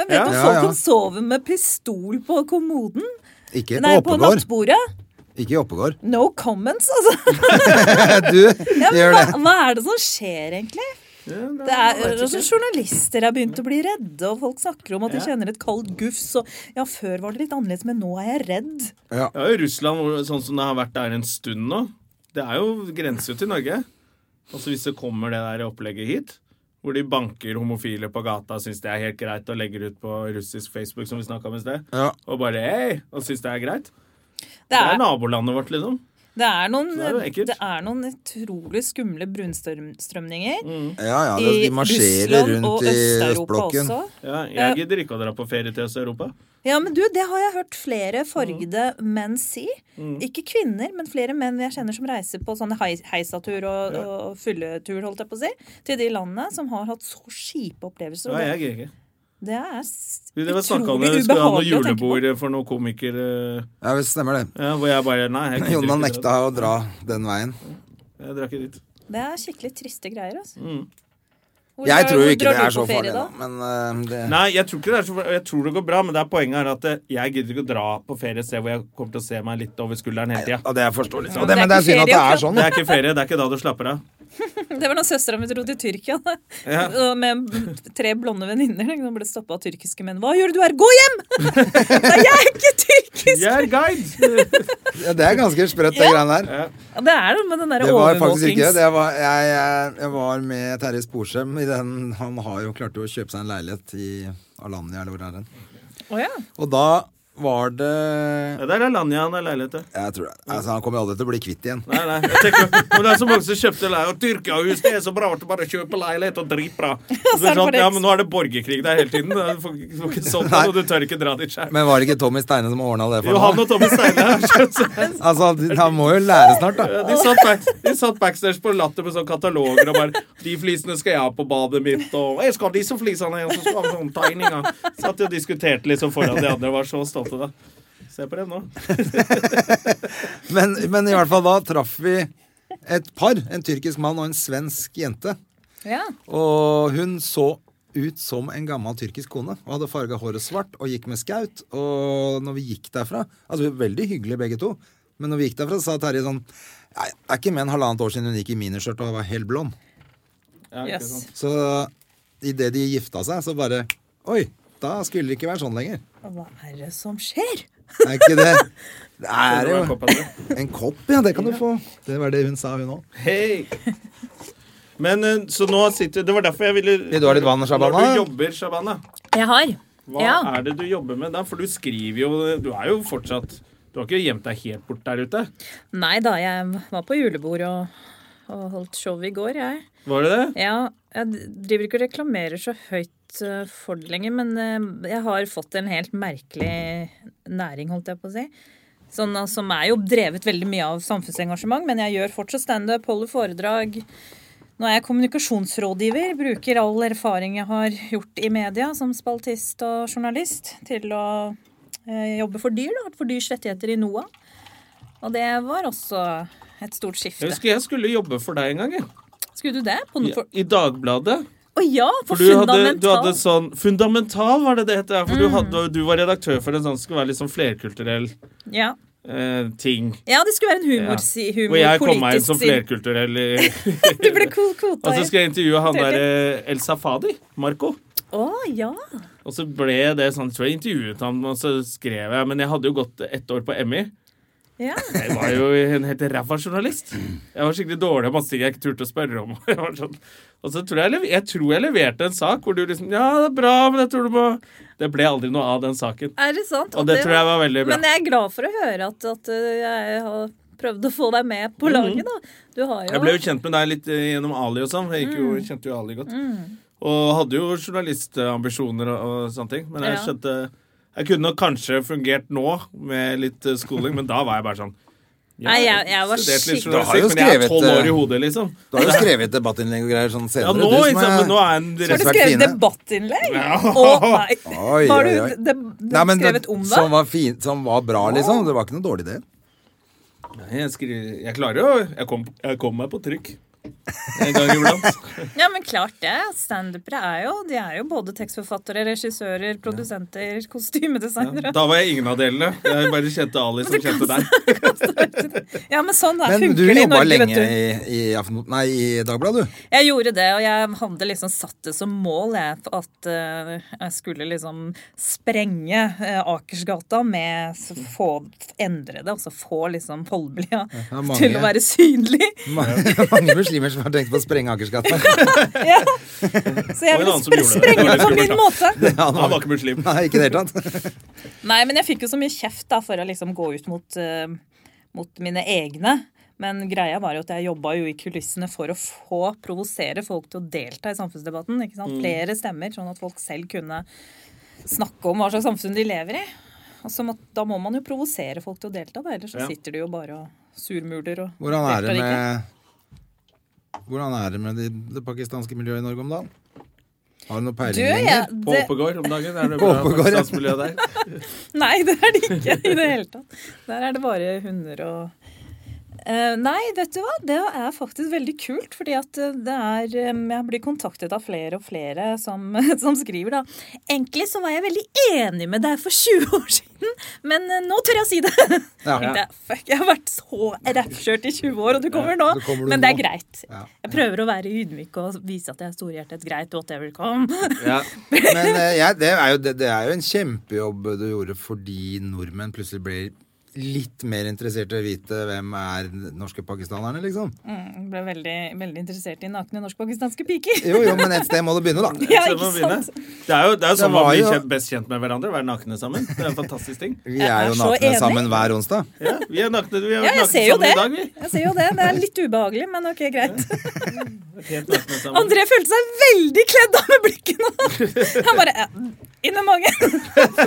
[SPEAKER 3] Jeg vet
[SPEAKER 1] Ja.
[SPEAKER 3] om
[SPEAKER 2] Ja,
[SPEAKER 3] folk
[SPEAKER 2] ja.
[SPEAKER 3] som sover med pistol på kommoden.
[SPEAKER 2] Ikke på
[SPEAKER 3] Nei, på
[SPEAKER 2] Oppegård.
[SPEAKER 3] nattbordet.
[SPEAKER 2] Ikke i Oppegård.
[SPEAKER 3] No comments, altså.
[SPEAKER 2] Du gjør
[SPEAKER 3] Hva,
[SPEAKER 2] det.
[SPEAKER 3] hva er det som skjer, egentlig? Det er, altså, journalister er begynt å bli redde, og folk snakker om at de kjenner et kaldt gufs. Og ja, før var det litt annerledes, men nå er jeg redd.
[SPEAKER 2] Ja.
[SPEAKER 1] Ja, i Russland, hvor- sånn som det har vært der en stund nå, det er jo grenser jo til Norge. Altså hvis det kommer det der opplegget hit, hvor de banker homofile på gata og syns det er helt greit og legger ut på russisk Facebook, som vi snakka om i sted,
[SPEAKER 2] Ja.
[SPEAKER 1] og bare hei, og syns det er greit.
[SPEAKER 3] Det
[SPEAKER 1] Det er
[SPEAKER 3] er,
[SPEAKER 1] nabolandet vårt, liksom.
[SPEAKER 3] det er, noen,
[SPEAKER 1] det er jo ekkelt.
[SPEAKER 3] det er noen utrolig skumle
[SPEAKER 1] Mm.
[SPEAKER 3] brunstrømninger.
[SPEAKER 2] ja, ja. det-
[SPEAKER 3] i
[SPEAKER 2] De marsjerer
[SPEAKER 3] Russland og
[SPEAKER 2] rundt i
[SPEAKER 3] Østeuropa
[SPEAKER 2] østblokken.
[SPEAKER 3] også.
[SPEAKER 1] Ja, jeg gidder ikke å dra på ferie til Øst-Europa.
[SPEAKER 3] Ja, men du, det har jeg hørt flere fargede menn si.
[SPEAKER 1] Mm.
[SPEAKER 3] Ikke kvinner, men flere menn jeg kjenner som reiser på sånne hei- heisatur og, og fylletur, holdt jeg på å si, til de landene som har hatt så kjipe opplevelser.
[SPEAKER 1] Ja,
[SPEAKER 3] og
[SPEAKER 1] jeg gidder ikke.
[SPEAKER 3] det, det er s-
[SPEAKER 1] Vi drev og snakket om det, vi
[SPEAKER 3] utrolig
[SPEAKER 1] skulle ha noe
[SPEAKER 3] ubehagelig å tenke på.
[SPEAKER 1] julebord for noen komikere, eh,
[SPEAKER 2] Ja, visst stemmer det.
[SPEAKER 1] ja, hvor jeg bare Nei, jeg gidder
[SPEAKER 2] Jonna
[SPEAKER 1] ikke. dra.
[SPEAKER 2] nekta å dra den veien.
[SPEAKER 1] Jeg drar ikke dit.
[SPEAKER 3] Det er skikkelig triste greier, altså.
[SPEAKER 1] Mm.
[SPEAKER 3] Hvor
[SPEAKER 2] Jeg
[SPEAKER 3] drar-
[SPEAKER 2] tror
[SPEAKER 3] hvor
[SPEAKER 2] ikke
[SPEAKER 3] drar
[SPEAKER 2] det
[SPEAKER 3] du
[SPEAKER 2] er
[SPEAKER 3] på
[SPEAKER 2] så
[SPEAKER 3] ferie,
[SPEAKER 2] farlig, da. Men eh, det
[SPEAKER 1] Nei, jeg tror ikke det er så Jeg tror det går bra, men det er poenget er at eh, jeg gidder ikke å dra på ferie et sted hvor jeg kommer til å se meg litt over skulderen hele tida.
[SPEAKER 2] Ja, det er forståelig.
[SPEAKER 3] det er
[SPEAKER 2] Men det er
[SPEAKER 3] ikke
[SPEAKER 2] synd at det
[SPEAKER 3] ferie, altså.
[SPEAKER 2] er
[SPEAKER 3] for-
[SPEAKER 2] sånn.
[SPEAKER 1] Det
[SPEAKER 2] da.
[SPEAKER 1] er ikke ferie, det er ikke da du slapper av.
[SPEAKER 3] Det var da søstera mi dro til Tyrkia da. Og med tre blonde venninner. Hun ble stoppa av tyrkiske menn. 'Hva gjør du her? Gå hjem!' Nei, jeg er ikke tyrkisk!
[SPEAKER 1] Jeg er guide!
[SPEAKER 2] Ja, det er ganske sprøtt, det greiene der.
[SPEAKER 3] Ja, Det er det med den derre
[SPEAKER 2] Det var faktisk ikke det.
[SPEAKER 3] overvåkings...
[SPEAKER 2] det var, jeg, jeg, jeg var med Terje Sporsem i den Han har jo klart å kjøpe seg en leilighet i Alanya, eller hvor er den?
[SPEAKER 3] Å ja.
[SPEAKER 2] Og da var det
[SPEAKER 1] Ja, der er Lanja han har leilighet til.
[SPEAKER 2] Jeg tror det. Altså, han kommer jo aldri til å bli kvitt igjen.
[SPEAKER 1] Nei, nei. Jeg tenker, og det er så mange som kjøpte leilighet. Og Tyrkia-hus, det er så bra at du bare kjøper leilighet og dritbra. Og så er det sånn, ja, men nå er det borgerkrig der hele tiden. Du får, du får ikke solgt den, og du tør ikke dra dit sjøl.
[SPEAKER 2] Men var det ikke Tommy Steine som ordna det
[SPEAKER 1] Jo,
[SPEAKER 2] for
[SPEAKER 1] han
[SPEAKER 2] ham?
[SPEAKER 1] og Tommy Steine har skjønt seg.
[SPEAKER 2] Altså, han- han må jo lære snart, da.
[SPEAKER 1] De satt, back, de satt backstage på Latter med sånne kataloger og bare 'De flisene skal jeg ha på badet mitt', og 'Jeg skal ha disse flisene', og så skal jeg ha sånne tegninger. Satt de og diskuterte liksom foran de andre og var så stolte. da. Se på det nå.
[SPEAKER 2] Men, men i hvert fall da traff vi et par. En tyrkisk mann og en svensk jente.
[SPEAKER 3] ja.
[SPEAKER 2] Og hun så ut som en gammel tyrkisk kone. Og hadde farga håret svart og gikk med skaut. Og når vi gikk derfra Altså, vi var veldig hyggelige begge to. Men når vi gikk derfra, sa Terje sånn Nei, det er ikke mer enn halvannet år siden hun gikk i miniskjørt og var helt blond.
[SPEAKER 1] Ja, ikke
[SPEAKER 3] Yes.
[SPEAKER 1] sant.
[SPEAKER 2] Så idet de gifta seg, så bare Oi, da skulle det ikke være sånn lenger.
[SPEAKER 3] Hva er det som skjer?
[SPEAKER 2] Det er ikke det. Det
[SPEAKER 1] Det
[SPEAKER 2] er
[SPEAKER 1] var en
[SPEAKER 2] jo
[SPEAKER 1] kopp av det.
[SPEAKER 2] En kopp, ja. Det kan du få. Det var det hun sa, hun òg.
[SPEAKER 1] Hei! Men eh, så nå sitter Det var derfor jeg ville
[SPEAKER 2] Vil du ha litt vann, Shabana?
[SPEAKER 1] Når du jobber, Shabana,
[SPEAKER 3] Jeg har.
[SPEAKER 1] hva
[SPEAKER 3] Ja.
[SPEAKER 1] er det du jobber med da? For du skriver jo Du er jo fortsatt Du har ikke gjemt deg helt bort der ute?
[SPEAKER 3] Nei da, jeg var på julebord og, og holdt show i går, jeg.
[SPEAKER 1] Var det det?
[SPEAKER 3] Ja, jeg d- driver ikke og reklamerer så høyt eh, for det lenger, men eh, jeg har fått en helt merkelig næring, holdt jeg på å si. Sånn, eh, som er jo drevet veldig mye av samfunnsengasjement, men jeg gjør fortsatt standup, holder foredrag. Nå er jeg kommunikasjonsrådgiver, bruker all erfaring jeg har gjort i media som spaltist og journalist, til å eh, jobbe for dyr, da, for dyrs rettigheter i NOAH. Og det var også et stort
[SPEAKER 1] Jeg
[SPEAKER 3] skifte.
[SPEAKER 1] husker jeg skulle jobbe for deg en gang. jeg.
[SPEAKER 3] Skulle du det? På,
[SPEAKER 1] I,
[SPEAKER 3] for,
[SPEAKER 1] i Dagbladet.
[SPEAKER 3] å ja, på
[SPEAKER 1] For du hadde, du
[SPEAKER 3] fundamental. Mm.
[SPEAKER 1] hadde sånn Fundamental var det det het. ja, For du, hadde, du var redaktør for en sånn som skulle være litt sånn flerkulturell
[SPEAKER 3] Ja.
[SPEAKER 1] eh, ting.
[SPEAKER 3] ja, det skulle være en
[SPEAKER 1] Ja.
[SPEAKER 3] humor, si, humor
[SPEAKER 1] Hvor jeg kom meg inn
[SPEAKER 3] politisk
[SPEAKER 1] som
[SPEAKER 3] side.
[SPEAKER 1] flerkulturell. i-
[SPEAKER 3] Du ble ko-
[SPEAKER 1] Og
[SPEAKER 3] kvota
[SPEAKER 1] så
[SPEAKER 3] i
[SPEAKER 1] skulle jeg intervjue han der eh, El Safadi. Marco.
[SPEAKER 3] Å ja.
[SPEAKER 1] Og så ble det sånn, jeg tror jeg intervjuet ham, og så skrev jeg, men jeg hadde jo gått ett år på Emmy.
[SPEAKER 3] ja.
[SPEAKER 1] Jeg var jo en helt ræva journalist. Jeg var skikkelig dårlig og masse ting jeg ikke turte å spørre om. Jeg var sånn. Og så tror jeg, lev- jeg tror jeg leverte en sak hvor du liksom, ja, det er bra, men jeg tror du må... Det ble aldri noe av den saken.
[SPEAKER 3] Er det sant?
[SPEAKER 1] Og det tror jeg var veldig bra.
[SPEAKER 3] Men jeg er glad for å høre at, at uh, jeg har prøvd å få deg med på laget, da. Du har
[SPEAKER 1] Mm.
[SPEAKER 3] jo
[SPEAKER 1] Jeg ble jo kjent med deg litt eh, gjennom Ali og sånn. Jeg gikk jo,
[SPEAKER 3] Mm.
[SPEAKER 1] kjente jo Ali godt. Og hadde jo journalistambisjoner og, og sånne ting. Men jeg
[SPEAKER 3] Ja.
[SPEAKER 1] skjønte Jeg kunne nok kanskje fungert nå med litt eh, skoling, men da var jeg bare sånn
[SPEAKER 3] Nei, jeg, jeg var
[SPEAKER 1] studert litt
[SPEAKER 3] skikkelig
[SPEAKER 2] Du har jo
[SPEAKER 1] journalistikk, men jeg er
[SPEAKER 2] skrevet,
[SPEAKER 1] tolv år
[SPEAKER 2] eh,
[SPEAKER 1] i hodet, liksom.
[SPEAKER 2] Du har jo skrevet debattinnlegg og greier sånn
[SPEAKER 1] Ja,
[SPEAKER 2] senere.
[SPEAKER 1] nå,
[SPEAKER 2] du som
[SPEAKER 1] ikke sant, men nå er den
[SPEAKER 3] Har du
[SPEAKER 1] rett
[SPEAKER 2] vært
[SPEAKER 3] skrevet
[SPEAKER 2] fine.
[SPEAKER 3] debattinnlegg? Å nei!
[SPEAKER 2] Oi, oi,
[SPEAKER 3] Har
[SPEAKER 2] oi.
[SPEAKER 3] du de, de,
[SPEAKER 2] Nei, men
[SPEAKER 3] skrevet
[SPEAKER 2] det-
[SPEAKER 3] om
[SPEAKER 2] Som
[SPEAKER 3] det?
[SPEAKER 2] var, fin, som var bra, liksom. Det var ikke noe dårlig idé.
[SPEAKER 1] jeg, skriver, jeg klarer jo jeg kom, jeg kom meg på trykk en gang iblant.
[SPEAKER 3] Ja, men klart det. Standupere er jo De er jo både tekstforfattere, regissører, produsenter, kostymedesignere.
[SPEAKER 1] Da var jeg ingen av delene. Jeg bare kjente Ali som kjente deg.
[SPEAKER 3] Ja, men sånn der
[SPEAKER 2] Men du
[SPEAKER 3] funker det i
[SPEAKER 2] jobba
[SPEAKER 3] Norge,
[SPEAKER 2] lenge
[SPEAKER 3] vet du.
[SPEAKER 2] i, i, Aftenposten- nei, i Dagbladet, du.
[SPEAKER 3] Jeg gjorde det, og jeg hadde liksom satt det som mål jeg, at eh, jeg skulle liksom sprenge eh, Akersgata med s- få endre det, altså få liksom Holmlia
[SPEAKER 2] er mange.
[SPEAKER 3] til å være synlig.
[SPEAKER 2] Ma- Mange muslimer som har tenkt på å sprenge Akersgata.
[SPEAKER 3] ja. Så jeg
[SPEAKER 1] Og en
[SPEAKER 3] ville
[SPEAKER 1] annen som
[SPEAKER 3] spre
[SPEAKER 1] gjorde det. Det
[SPEAKER 3] sprenge
[SPEAKER 1] var
[SPEAKER 3] det på
[SPEAKER 1] litt
[SPEAKER 3] min måte.
[SPEAKER 2] Ja,
[SPEAKER 1] Han
[SPEAKER 2] nå-
[SPEAKER 1] var ikke muslim.
[SPEAKER 2] Nei, ikke i det hele tatt.
[SPEAKER 3] Nei, men jeg fikk jo så mye kjeft da for å liksom gå ut mot, eh, mot mine egne. Men greia var jo at jeg jobba jo i kulissene for å få provosere folk til å delta i samfunnsdebatten. ikke sant? Flere stemmer, sånn at folk selv kunne snakke om hva slags samfunn de lever i. Og så må, da må man jo provosere folk til å delta, da. ellers så
[SPEAKER 1] Ja.
[SPEAKER 3] sitter de jo bare og surmuler og
[SPEAKER 2] Hvordan er det
[SPEAKER 3] deltar ikke.
[SPEAKER 2] med Hvordan er det med de, det pakistanske miljøet i Norge om dagen? Har du noe
[SPEAKER 3] Du,
[SPEAKER 2] peiling
[SPEAKER 3] jeg,
[SPEAKER 2] lenger?
[SPEAKER 1] På
[SPEAKER 3] det,
[SPEAKER 1] Oppegård om dagen. Er det
[SPEAKER 2] På
[SPEAKER 1] bra
[SPEAKER 2] Oppegård, ja.
[SPEAKER 1] pakistansmiljø der?
[SPEAKER 3] Nei, det er det ikke i det hele tatt. Der er det bare hunder og Eh, nei, vet du hva? Det er faktisk veldig kult. fordi at eh, det er, eh, jeg blir kontaktet av flere og flere som, som skriver da. Egentlig så var jeg veldig enig med deg for 20 år siden, men eh, nå tør jeg si det.
[SPEAKER 2] Ja.
[SPEAKER 3] Tenkte jeg, Fuck, jeg har vært så rappkjørt i 20 år, og du kommer nå.
[SPEAKER 2] Ja, så kommer du
[SPEAKER 3] men det er
[SPEAKER 2] nå.
[SPEAKER 3] greit.
[SPEAKER 2] Ja.
[SPEAKER 3] Jeg prøver å være ydmyk og vise at jeg er storhjertet. Greit, whatever come.
[SPEAKER 1] Ja.
[SPEAKER 2] Men eh, jeg, det, er jo, det, det er jo en kjempejobb du gjorde fordi nordmenn plutselig blir litt mer interessert i å vite hvem er den norske pakistanerne, liksom.
[SPEAKER 3] Jeg Mm, ble veldig, veldig interessert i nakne norsk-pakistanske piker.
[SPEAKER 2] Jo, jo, men et sted må du begynne, da.
[SPEAKER 3] Ja,
[SPEAKER 1] Så
[SPEAKER 3] ikke
[SPEAKER 1] må vi begynne.
[SPEAKER 3] sant?
[SPEAKER 1] Det er jo, det er jo sånn man
[SPEAKER 2] var
[SPEAKER 1] blir
[SPEAKER 2] jo-
[SPEAKER 1] kjent, best kjent med hverandre. Være nakne sammen. Det er en fantastisk ting.
[SPEAKER 2] Vi
[SPEAKER 3] Jeg
[SPEAKER 2] er
[SPEAKER 3] er
[SPEAKER 2] jo
[SPEAKER 3] så
[SPEAKER 2] nakne
[SPEAKER 3] enig.
[SPEAKER 2] sammen hver onsdag.
[SPEAKER 1] Ja, vi er nakne, vi har
[SPEAKER 3] Ja,
[SPEAKER 1] vært
[SPEAKER 3] jeg
[SPEAKER 1] nakne
[SPEAKER 3] ser jo
[SPEAKER 1] sammen
[SPEAKER 3] det.
[SPEAKER 1] i dag, vi.
[SPEAKER 3] Jeg ser jo det. Det er litt ubehagelig, men ok, greit.
[SPEAKER 1] Helt nakne sammen.
[SPEAKER 3] André følte seg veldig kledd av med blikket nå. Han bare ja, Inn med magen.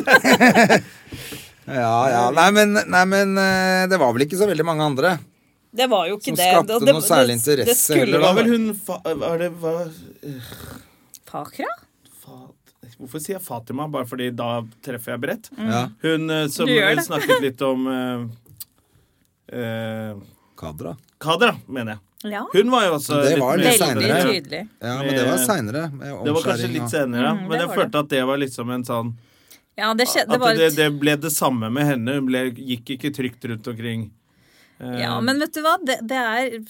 [SPEAKER 2] Ja, ja. Nei, men, nei, men eh, det var vel ikke så veldig mange andre.
[SPEAKER 3] Det var jo ikke
[SPEAKER 2] Som
[SPEAKER 3] det.
[SPEAKER 2] skapte
[SPEAKER 3] Det-
[SPEAKER 2] noe særlig interesse
[SPEAKER 3] Det skulle
[SPEAKER 2] heller,
[SPEAKER 1] Det
[SPEAKER 2] da.
[SPEAKER 1] var vel hun fa Var det hva,
[SPEAKER 3] Fakra?
[SPEAKER 1] fa- Hvorfor sier jeg Fatima? Bare fordi da treffer jeg bredt.
[SPEAKER 2] Ja.
[SPEAKER 1] Hun eh, som
[SPEAKER 3] Mm. Du gjør det.
[SPEAKER 1] snakket litt om eh, eh,
[SPEAKER 2] Kadra.
[SPEAKER 1] Kadra, mener jeg.
[SPEAKER 3] Ja.
[SPEAKER 1] Hun var jo også
[SPEAKER 2] Det var litt
[SPEAKER 1] litt mer- sånn
[SPEAKER 3] Veldig
[SPEAKER 2] senere.
[SPEAKER 3] tydelig.
[SPEAKER 2] Ja, men det var seinere. med
[SPEAKER 1] Eh, Det var kanskje
[SPEAKER 2] omskjæring
[SPEAKER 1] litt
[SPEAKER 2] og-
[SPEAKER 1] senere, ja.
[SPEAKER 3] Mm,
[SPEAKER 1] men
[SPEAKER 3] det
[SPEAKER 1] jeg
[SPEAKER 3] var det.
[SPEAKER 1] følte at det var liksom en sånn
[SPEAKER 3] Ja, det skjedde. Det
[SPEAKER 1] At
[SPEAKER 3] var
[SPEAKER 1] det,
[SPEAKER 3] et
[SPEAKER 1] det ble det samme med henne. Hun ble, gikk ikke trygt rundt omkring. Eh,
[SPEAKER 3] Ja, men vet du hva? Det, det er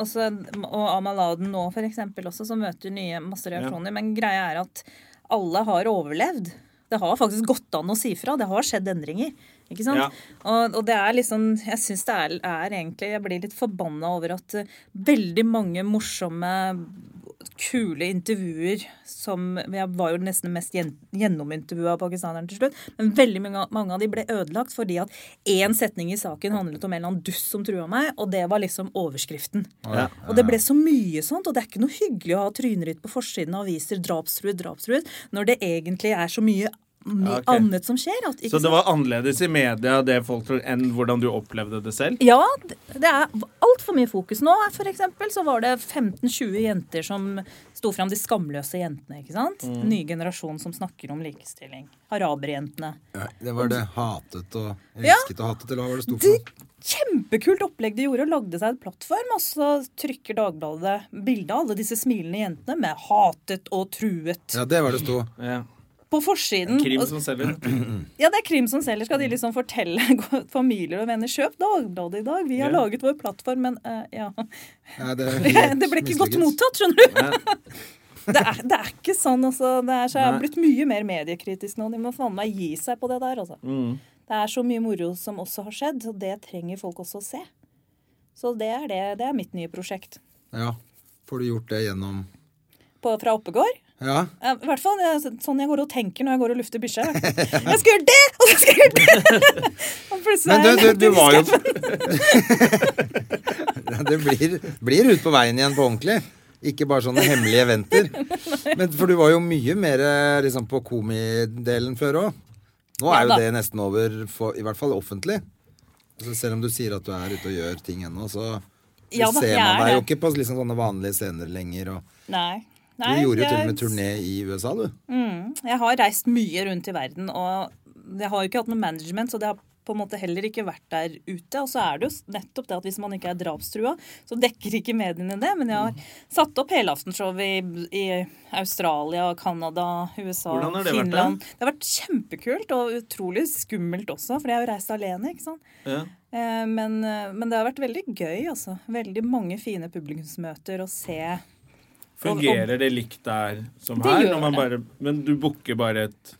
[SPEAKER 3] også, Og Amaladen nå, for eksempel, også, som møter nye masse reaksjoner. Men greia er at alle har overlevd. Det har faktisk gått an å si fra. Det har skjedd endringer. Ikke sant?
[SPEAKER 1] Ja.
[SPEAKER 3] Og, og det er liksom Jeg syns det er, er egentlig Jeg blir litt forbanna over at eh, veldig mange morsomme, kule intervjuer som Jeg var jo nesten mest gjen, gjennomintervjua av pakistanerne til slutt. Men veldig mange, mange av de ble ødelagt fordi at én setning i saken handlet om en eller annen dust som trua meg, og det var liksom overskriften.
[SPEAKER 1] Ja.
[SPEAKER 3] Og det ble så mye sånt, og det er ikke noe hyggelig å ha trynet ditt på forsiden av aviser, drapstruet, drapstruet, når det egentlig er så mye
[SPEAKER 1] Ja, Ah, ok.
[SPEAKER 3] annet som skjer. At, ikke
[SPEAKER 1] Så det
[SPEAKER 3] sant?
[SPEAKER 1] var annerledes i media det folk tror, enn hvordan du opplevde det selv?
[SPEAKER 3] Ja, det det er altfor mye fokus nå. For eksempel så var det 15-20 jenter som sto fram, de skamløse jentene. ikke sant? Ny generasjon som snakker om likestilling. Araberjentene.
[SPEAKER 2] Ja, det var det hatet og
[SPEAKER 3] Ja.
[SPEAKER 2] elsket og hatet, eller hva var det stort
[SPEAKER 3] De,
[SPEAKER 2] for?
[SPEAKER 3] kjempekult opplegg de gjorde, og lagde seg en plattform. Og så trykker Dagbladet bilde av alle disse smilende jentene med 'hatet og truet'
[SPEAKER 2] Ja, det var det sto.
[SPEAKER 1] Ja.
[SPEAKER 3] på forsiden.
[SPEAKER 1] Krim
[SPEAKER 3] Og-
[SPEAKER 1] som selger.
[SPEAKER 3] Ja, det er krim som selger. Skal de liksom fortelle familier og venner 'kjøp Dagbladet i dag', vi har
[SPEAKER 1] Ja.
[SPEAKER 3] laget vår plattform', men eh, ja.
[SPEAKER 2] Nei, det, er helt
[SPEAKER 3] Det ble ikke godt
[SPEAKER 2] mislykket.
[SPEAKER 3] mottatt, skjønner du. Det er, det er ikke sånn, altså. Det er, så jeg har blitt mye mer mediekritisk nå. De må faen meg gi seg på det der, altså.
[SPEAKER 2] Mm.
[SPEAKER 3] Det er så mye moro som også har skjedd, og det trenger folk også å se. Så det er, det, det er mitt nye prosjekt.
[SPEAKER 2] Ja. Får du gjort det gjennom
[SPEAKER 3] På, fra Oppegård.
[SPEAKER 2] Ja.
[SPEAKER 3] Eh, I hvert fall eh, sånn jeg går og tenker når jeg går og lufter bikkja. i hvert fall. Jeg skal gjøre det, og så skal jeg gjøre det! Og plutselig
[SPEAKER 2] Men
[SPEAKER 3] er
[SPEAKER 2] du,
[SPEAKER 3] jeg
[SPEAKER 2] du, du
[SPEAKER 3] langt inn i
[SPEAKER 2] var jo
[SPEAKER 3] skaffen.
[SPEAKER 2] Det blir, blir ut på veien igjen på ordentlig. Ikke bare sånne hemmelige eventer. Men For du var jo mye mer eh, liksom, på komidelen før òg. Nå
[SPEAKER 3] Ja
[SPEAKER 2] er jo
[SPEAKER 3] da.
[SPEAKER 2] det nesten over, for, i hvert fall offentlig. Altså, selv om du sier at du er ute og gjør ting ennå, så
[SPEAKER 3] Ja da,
[SPEAKER 2] ser
[SPEAKER 3] jeg
[SPEAKER 2] man
[SPEAKER 3] er
[SPEAKER 2] deg jo
[SPEAKER 3] det.
[SPEAKER 2] ikke på liksom, sånne vanlige scener lenger. Og,
[SPEAKER 3] Nei.
[SPEAKER 2] du
[SPEAKER 3] Nei,
[SPEAKER 2] gjorde jo til og
[SPEAKER 3] jeg-
[SPEAKER 2] med turné i USA, du.
[SPEAKER 3] Mm. Jeg har reist mye rundt i verden, og jeg har jo ikke hatt noe management, så det har på en måte heller ikke vært der ute. Og så er det jo nettopp det at hvis man ikke er drapstrua, så dekker ikke mediene det. Men jeg
[SPEAKER 1] Mm.
[SPEAKER 3] har satt opp helaftenshow i, i Australia, Canada, USA,
[SPEAKER 1] Hvordan har det vært,
[SPEAKER 3] Finland. det har vært kjempekult og utrolig skummelt også, for jeg har jo reist alene, ikke sant.
[SPEAKER 1] Ja.
[SPEAKER 3] Eh, Men, eh, men det har vært veldig gøy, altså. Veldig mange fine publikumsmøter å se.
[SPEAKER 1] Fungerer det likt der som
[SPEAKER 3] Det
[SPEAKER 1] her?
[SPEAKER 3] gjør
[SPEAKER 1] Når man
[SPEAKER 3] det.
[SPEAKER 1] bare, men du booker bare et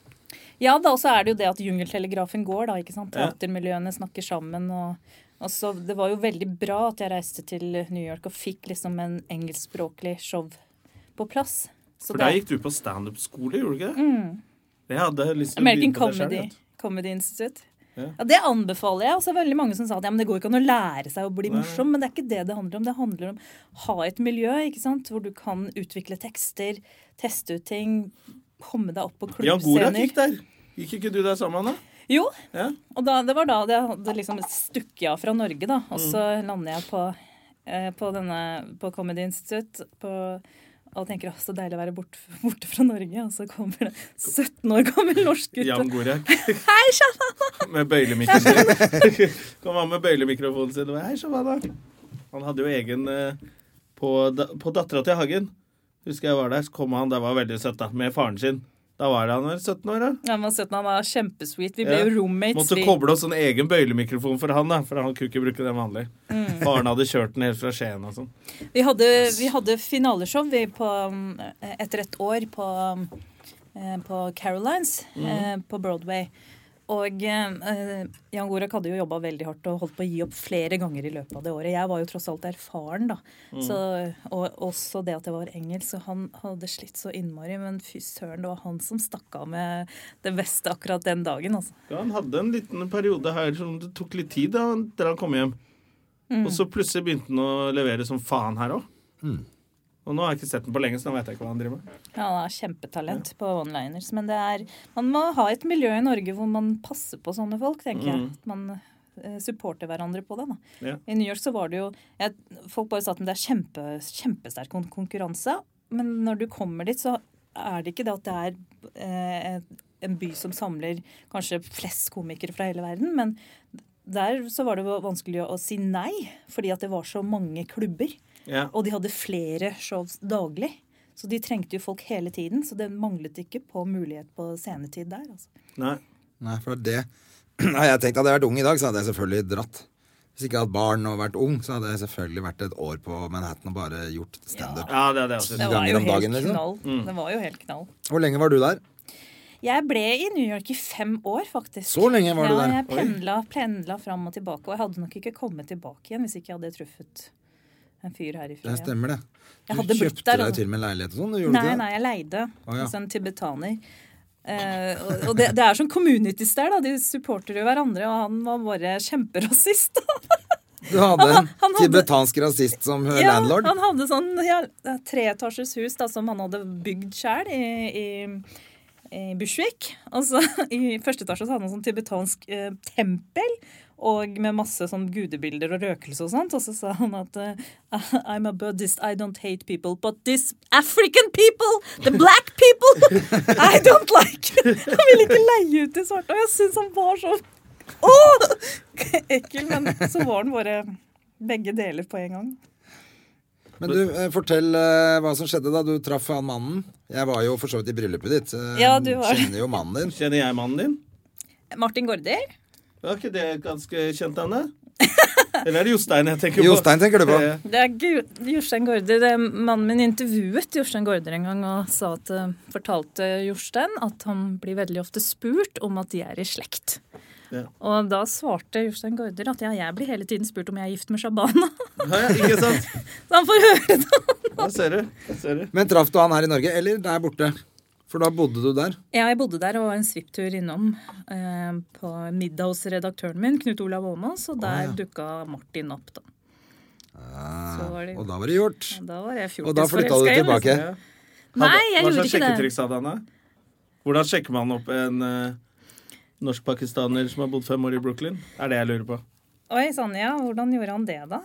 [SPEAKER 3] Ja, da, og så er det jo det at jungeltelegrafen går, da. ikke sant?
[SPEAKER 1] Ja.
[SPEAKER 3] Teatermiljøene snakker sammen. og, og så, Det var jo veldig bra at jeg reiste til New York og fikk liksom en engelskspråklig show på plass. Så
[SPEAKER 1] For
[SPEAKER 3] det-
[SPEAKER 1] der gikk du på standup-skole, gjorde du ikke det? Det hadde jeg lyst til å
[SPEAKER 3] Mm. American
[SPEAKER 1] begynne på det selv,
[SPEAKER 3] Comedy,
[SPEAKER 1] vet du.
[SPEAKER 3] Comedy Institute. Ja. Det anbefaler jeg. Og så er det veldig mange som sa at ja, men det går ikke an å lære seg å bli morsom. Men det er ikke det det handler om. Det handler om å ha et miljø ikke sant? hvor du kan utvikle tekster, teste ut ting, komme deg opp på
[SPEAKER 1] Ja, Gorak
[SPEAKER 3] klubbscener.
[SPEAKER 1] gikk der. Gikk ikke du der sammen, da?
[SPEAKER 3] Jo,
[SPEAKER 1] Ja.
[SPEAKER 3] og da, det var da det hadde liksom stukket av fra Norge, da. Og så lander jeg på, eh, på denne på Comedy Institute på, Og tenker å, så deilig å være borte, borte fra Norge. Og så kommer det 17 år gammel norsk gutt.
[SPEAKER 1] Jan Gorek
[SPEAKER 3] Hei, Shabana!
[SPEAKER 1] med bøylemikrofon. Kom han med bøylemikrofonen sin og bare, Hei, Shabana. Han hadde jo egen eh, På, da- på dattera til Hagen husker jeg var der, så kom han der var han veldig søtt, da, med faren sin. Da var han vel 17 år, da.
[SPEAKER 3] Han var 17, han var kjempesweet. Vi ble
[SPEAKER 1] Ja.
[SPEAKER 3] jo roommates.
[SPEAKER 1] Måtte
[SPEAKER 3] vi.
[SPEAKER 1] koble oss en egen bøylemikrofon for han, da, for han kunne ikke bruke den vanlig. Faren hadde kjørt den helt fra Skien og sånn.
[SPEAKER 3] Vi hadde, vi hadde finaleshow vi på, um, etter et år på, um, eh, på Carolines eh, på Broadway. Og eh, Jan Gorak hadde jo jobba veldig hardt og holdt på å gi opp flere ganger i løpet av det året. Jeg var jo tross alt erfaren, da. Så, og også det at jeg var engelsk. Så han hadde slitt så innmari. Men fy søren, det var han som stakk av med det beste akkurat den dagen, altså.
[SPEAKER 1] Ja, han hadde en liten periode her som det tok litt tid da, til han kom hjem. Og så plutselig begynte han å levere som faen her òg. Og nå har jeg ikke sett den på lenge, så da vet jeg ikke hva han driver med.
[SPEAKER 3] Ja, Han har kjempetalent på one-liners. Men det er, man må ha et miljø i Norge hvor man passer på sånne folk, tenker jeg. At Man eh, supporter hverandre på det. da.
[SPEAKER 1] Ja.
[SPEAKER 3] I New York så var det jo jeg, Folk bare sa at det er kjempe, kjempesterk kon- konkurranse. Men når du kommer dit, så er det ikke det at det er eh, et- en by som samler kanskje flest komikere fra hele verden. Men der så var det vanskelig å si nei, fordi at det var så mange klubber.
[SPEAKER 1] Ja.
[SPEAKER 3] Og de hadde flere shows daglig. Så de trengte jo folk hele tiden. Så det manglet ikke på mulighet på scenetid der. Altså.
[SPEAKER 1] Nei.
[SPEAKER 2] Nei, for det Nei, jeg tenkte hadde jeg vært ung i dag, så hadde jeg selvfølgelig dratt. Hvis ikke jeg hadde hatt barn og vært ung, så hadde jeg selvfølgelig vært et år på Manhattan og bare gjort standup.
[SPEAKER 1] Ja, det er det jeg også.
[SPEAKER 3] Det var
[SPEAKER 2] ganger
[SPEAKER 3] jo
[SPEAKER 2] om
[SPEAKER 3] helt
[SPEAKER 2] dagen, liksom?
[SPEAKER 3] knall. Det var jo helt knall.
[SPEAKER 2] Hvor lenge var du der?
[SPEAKER 3] Jeg ble i New York i fem år, faktisk.
[SPEAKER 2] Så lenge var du
[SPEAKER 3] ja,
[SPEAKER 2] der?
[SPEAKER 3] Jeg pendla, pendla fram og tilbake. Og jeg hadde nok ikke kommet tilbake igjen hvis ikke jeg hadde truffet en fyr herifra.
[SPEAKER 2] Det
[SPEAKER 3] igjen.
[SPEAKER 2] stemmer, det.
[SPEAKER 3] Jeg
[SPEAKER 2] Du
[SPEAKER 3] hadde blitt
[SPEAKER 2] kjøpte
[SPEAKER 3] der,
[SPEAKER 2] deg jo
[SPEAKER 3] altså.
[SPEAKER 2] til og med en leilighet og sånn? Du gjorde
[SPEAKER 3] Nei,
[SPEAKER 2] ikke
[SPEAKER 3] nei,
[SPEAKER 2] det?
[SPEAKER 3] jeg leide
[SPEAKER 2] Å, ja.
[SPEAKER 3] hos en tibetaner. Eh, og og det, det er sånn communities der, da. De supporter jo hverandre. Og han var bare kjemperasist.
[SPEAKER 2] Du hadde en
[SPEAKER 3] han hadde-
[SPEAKER 2] tibetansk rasist som eh, landlord?
[SPEAKER 3] han hadde sånn ja, treetasjes hus da, som han hadde bygd sjøl i, i, i Bushwick. Og så I første etasje så hadde han sånn tibetansk eh, tempel. Og med masse sånn gudebilder og røkelse og sånt. Og så sa han at eh, I'm a buddhist, I don't hate people. But this African people, the black people, I don't like. Han ville ikke leie ut de svarte. Og jeg syns han var så Åh! ekkel. Men så var han bare begge deler på en gang.
[SPEAKER 2] Men du, eh, fortell eh, hva som skjedde da du traff han mannen. Jeg var jo for så vidt i bryllupet ditt. eh,
[SPEAKER 3] Ja, du var det.
[SPEAKER 2] Kjenner jo mannen din.
[SPEAKER 1] Kjenner jeg mannen din?
[SPEAKER 3] Martin Gaarder.
[SPEAKER 1] Var ikke det ganske kjent, Anne? Eller er det Jostein jeg tenker på?
[SPEAKER 2] Jostein tenker du på.
[SPEAKER 1] Eh,
[SPEAKER 3] Det er Gu- Jostein Gaarder. Det- Mannen min intervjuet Jostein Gaarder en gang og sa at, eh, fortalte Jostein at han blir veldig ofte spurt om at de er i slekt.
[SPEAKER 1] Ja.
[SPEAKER 3] Og da svarte Jostein Gaarder at ja, jeg blir hele tiden spurt om jeg er gift med Shabana.
[SPEAKER 1] Ja, ja, ikke sant?
[SPEAKER 3] Så han får høre det.
[SPEAKER 1] Der ser du. Der ser du.
[SPEAKER 2] Men traff du han her i Norge, eller der borte? For da bodde du der.
[SPEAKER 3] Ja, jeg bodde der og var en svipptur innom eh, på en middag hos redaktøren min, Knut Olav Åmås, og der dukka Martin opp, da. Så var det,
[SPEAKER 2] Ah, Og da var det gjort.
[SPEAKER 3] da var jeg
[SPEAKER 2] Og da flytta du
[SPEAKER 3] fjortisforelska igjen.
[SPEAKER 2] tilbake.
[SPEAKER 1] Ja.
[SPEAKER 3] Nei, jeg
[SPEAKER 1] Hva
[SPEAKER 3] gjorde
[SPEAKER 1] slags
[SPEAKER 3] ikke det.
[SPEAKER 1] sjekketriks hadde han, da? Hvordan sjekker man opp en eh, norsk-pakistaner som har bodd fem år i Brooklyn? Er det jeg lurer på.
[SPEAKER 3] Oi sann, ja. Hvordan gjorde han det, da?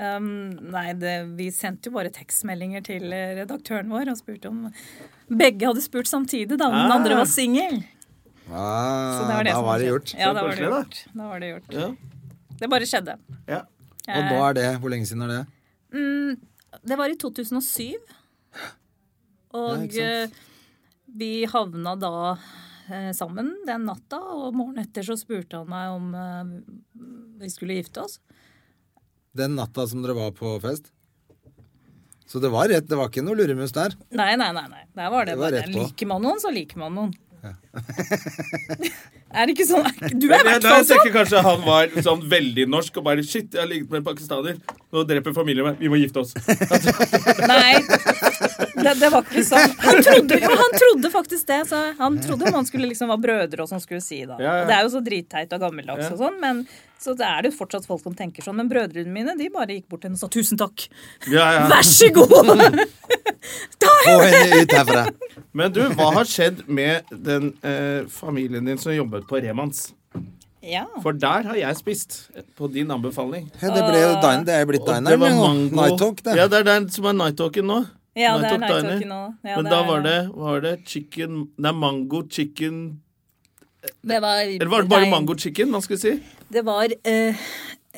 [SPEAKER 3] Ehm, nei, det, vi sendte jo bare tekstmeldinger til eh, redaktøren vår og spurte om Begge hadde spurt samtidig, da, men den
[SPEAKER 1] Ah.
[SPEAKER 3] andre var singel. Så
[SPEAKER 2] Ah,
[SPEAKER 3] det var det
[SPEAKER 2] da
[SPEAKER 3] som
[SPEAKER 2] var det
[SPEAKER 3] skjedde.
[SPEAKER 2] gjort.
[SPEAKER 3] Ja, da var det
[SPEAKER 1] koselig, da.
[SPEAKER 3] gjort. Da var det gjort.
[SPEAKER 1] Ja.
[SPEAKER 3] Det bare skjedde. Eh,
[SPEAKER 1] ja.
[SPEAKER 2] Og nå er det Hvor lenge siden er det?
[SPEAKER 3] mm, Det var i 2007.
[SPEAKER 2] Ja,
[SPEAKER 3] Og
[SPEAKER 2] ikke sant.
[SPEAKER 3] eh, vi havna da eh, sammen den natta, og morgenen etter så spurte han meg om eh, vi skulle gifte oss.
[SPEAKER 2] Den natta som dere var på fest? Så det var rett, det var ikke noe luremus der.
[SPEAKER 3] Nei, nei, nei. nei. Der var det,
[SPEAKER 2] Det var
[SPEAKER 3] bare
[SPEAKER 2] rett på.
[SPEAKER 3] Liker man noen, så liker man noen. er det ikke sånn? Er ikke- Du er i
[SPEAKER 1] Jeg,
[SPEAKER 3] hvert
[SPEAKER 1] jeg
[SPEAKER 3] fall sånn!
[SPEAKER 1] tenker kanskje han var sånn veldig norsk og bare Shit, jeg har ligget med en pakistaner. Nå dreper familien meg. Vi må gifte oss.
[SPEAKER 3] Nei. Det, det var ikke sånn. Han trodde, jo, han trodde faktisk det. Så han trodde man skulle liksom være brødre og sånn skulle si da.
[SPEAKER 1] Ja, ja.
[SPEAKER 3] Og Det er jo så dritteit og gammeldags og sånn, men så det er det jo fortsatt folk som tenker sånn. Men brødrene mine de bare gikk bort til henne og sa 'tusen takk'.
[SPEAKER 1] Ja, ja.
[SPEAKER 3] Vær så god! Ta
[SPEAKER 2] Få henne ut herfra.
[SPEAKER 1] Men du, hva har skjedd med den eh, familien din som jobbet på Remans?
[SPEAKER 3] Ja.
[SPEAKER 1] For der har jeg spist. På din anbefaling.
[SPEAKER 3] Ah.
[SPEAKER 2] Ja, Det ble jo dine, det er jo blitt
[SPEAKER 1] Og
[SPEAKER 2] dineren.
[SPEAKER 1] det var
[SPEAKER 2] jo.
[SPEAKER 1] mango.
[SPEAKER 2] Night Talk, det.
[SPEAKER 1] Ja, det er den som er night talken nå.
[SPEAKER 3] Ja,
[SPEAKER 1] Nei,
[SPEAKER 3] det er
[SPEAKER 1] tok
[SPEAKER 3] Night
[SPEAKER 1] Diner.
[SPEAKER 3] Talking nå. Ja,
[SPEAKER 1] Men
[SPEAKER 3] det
[SPEAKER 1] da
[SPEAKER 3] er-
[SPEAKER 1] var det, var det chicken Nei, mango chicken
[SPEAKER 3] Det var,
[SPEAKER 1] Eller var det bare
[SPEAKER 3] nei,
[SPEAKER 1] mango chicken man skulle si?
[SPEAKER 3] Det var eh,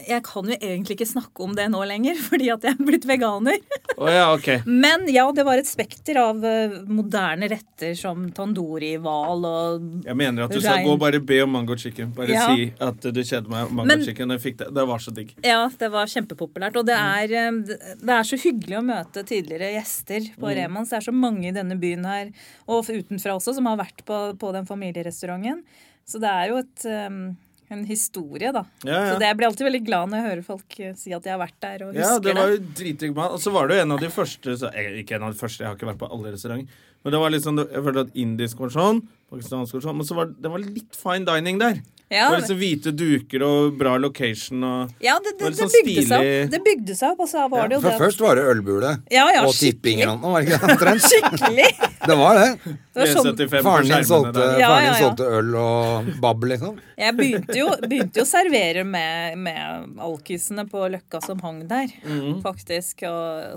[SPEAKER 3] Jeg kan jo egentlig ikke snakke om det nå lenger, fordi at jeg er blitt veganer.
[SPEAKER 1] Å ja, ok.
[SPEAKER 3] Men ja, det var et spekter av eh, moderne retter som tandori-hval og
[SPEAKER 1] Jeg mener at du skal
[SPEAKER 3] Rein.
[SPEAKER 1] gå og bare be om mango chicken. Bare
[SPEAKER 3] Ja.
[SPEAKER 1] si at du kjeder meg om mango
[SPEAKER 3] Men-
[SPEAKER 1] chicken. Jeg fikk det. det var så digg.
[SPEAKER 3] Ja, det var kjempepopulært. Og det
[SPEAKER 1] Mm.
[SPEAKER 3] er, eh, det er så hyggelig å møte tidligere gjester på
[SPEAKER 1] Mm.
[SPEAKER 3] Remans. Det er så mange i denne byen her, og utenfra også, som har vært på, på den familierestauranten. Så det er jo et, eh, en historie, da.
[SPEAKER 1] Ja, ja.
[SPEAKER 3] Så det, jeg blir alltid veldig glad når jeg hører folk eh, si at jeg har vært der og
[SPEAKER 1] Ja,
[SPEAKER 3] husker
[SPEAKER 1] det var jo dritdigg mat. Og så var det jo en av de første så, eh, Ikke en av de første, jeg har ikke vært på alle restauranter. Men det var liksom, jeg følte at indisk var sånn, pakistansk var sånn, men så var det var litt fine dining der. Det
[SPEAKER 3] Ja.
[SPEAKER 1] var liksom Hvite duker og bra location og
[SPEAKER 3] Ja, det,
[SPEAKER 1] var litt
[SPEAKER 3] det, det,
[SPEAKER 1] sånn
[SPEAKER 3] bygde seg
[SPEAKER 1] stilig.
[SPEAKER 3] opp. Det bygde seg opp, og så var det jo
[SPEAKER 2] For
[SPEAKER 3] det.
[SPEAKER 2] først var det ølbule
[SPEAKER 3] Ja, ja,
[SPEAKER 2] og
[SPEAKER 3] skikkelig.
[SPEAKER 2] tipping eller noe, var det ikke det? omtrent?
[SPEAKER 3] Skikkelig!
[SPEAKER 2] Det var det.
[SPEAKER 3] Det var sånn,
[SPEAKER 1] på
[SPEAKER 2] Faren din
[SPEAKER 1] skjermene
[SPEAKER 2] solgte,
[SPEAKER 1] der.
[SPEAKER 3] Ja,
[SPEAKER 2] faren din
[SPEAKER 3] ja, ja.
[SPEAKER 2] solgte øl og babb, liksom.
[SPEAKER 3] jeg begynte jo, begynte jo å servere med, med alkisene på løkka som hang der,
[SPEAKER 1] Mhm.
[SPEAKER 3] faktisk. Og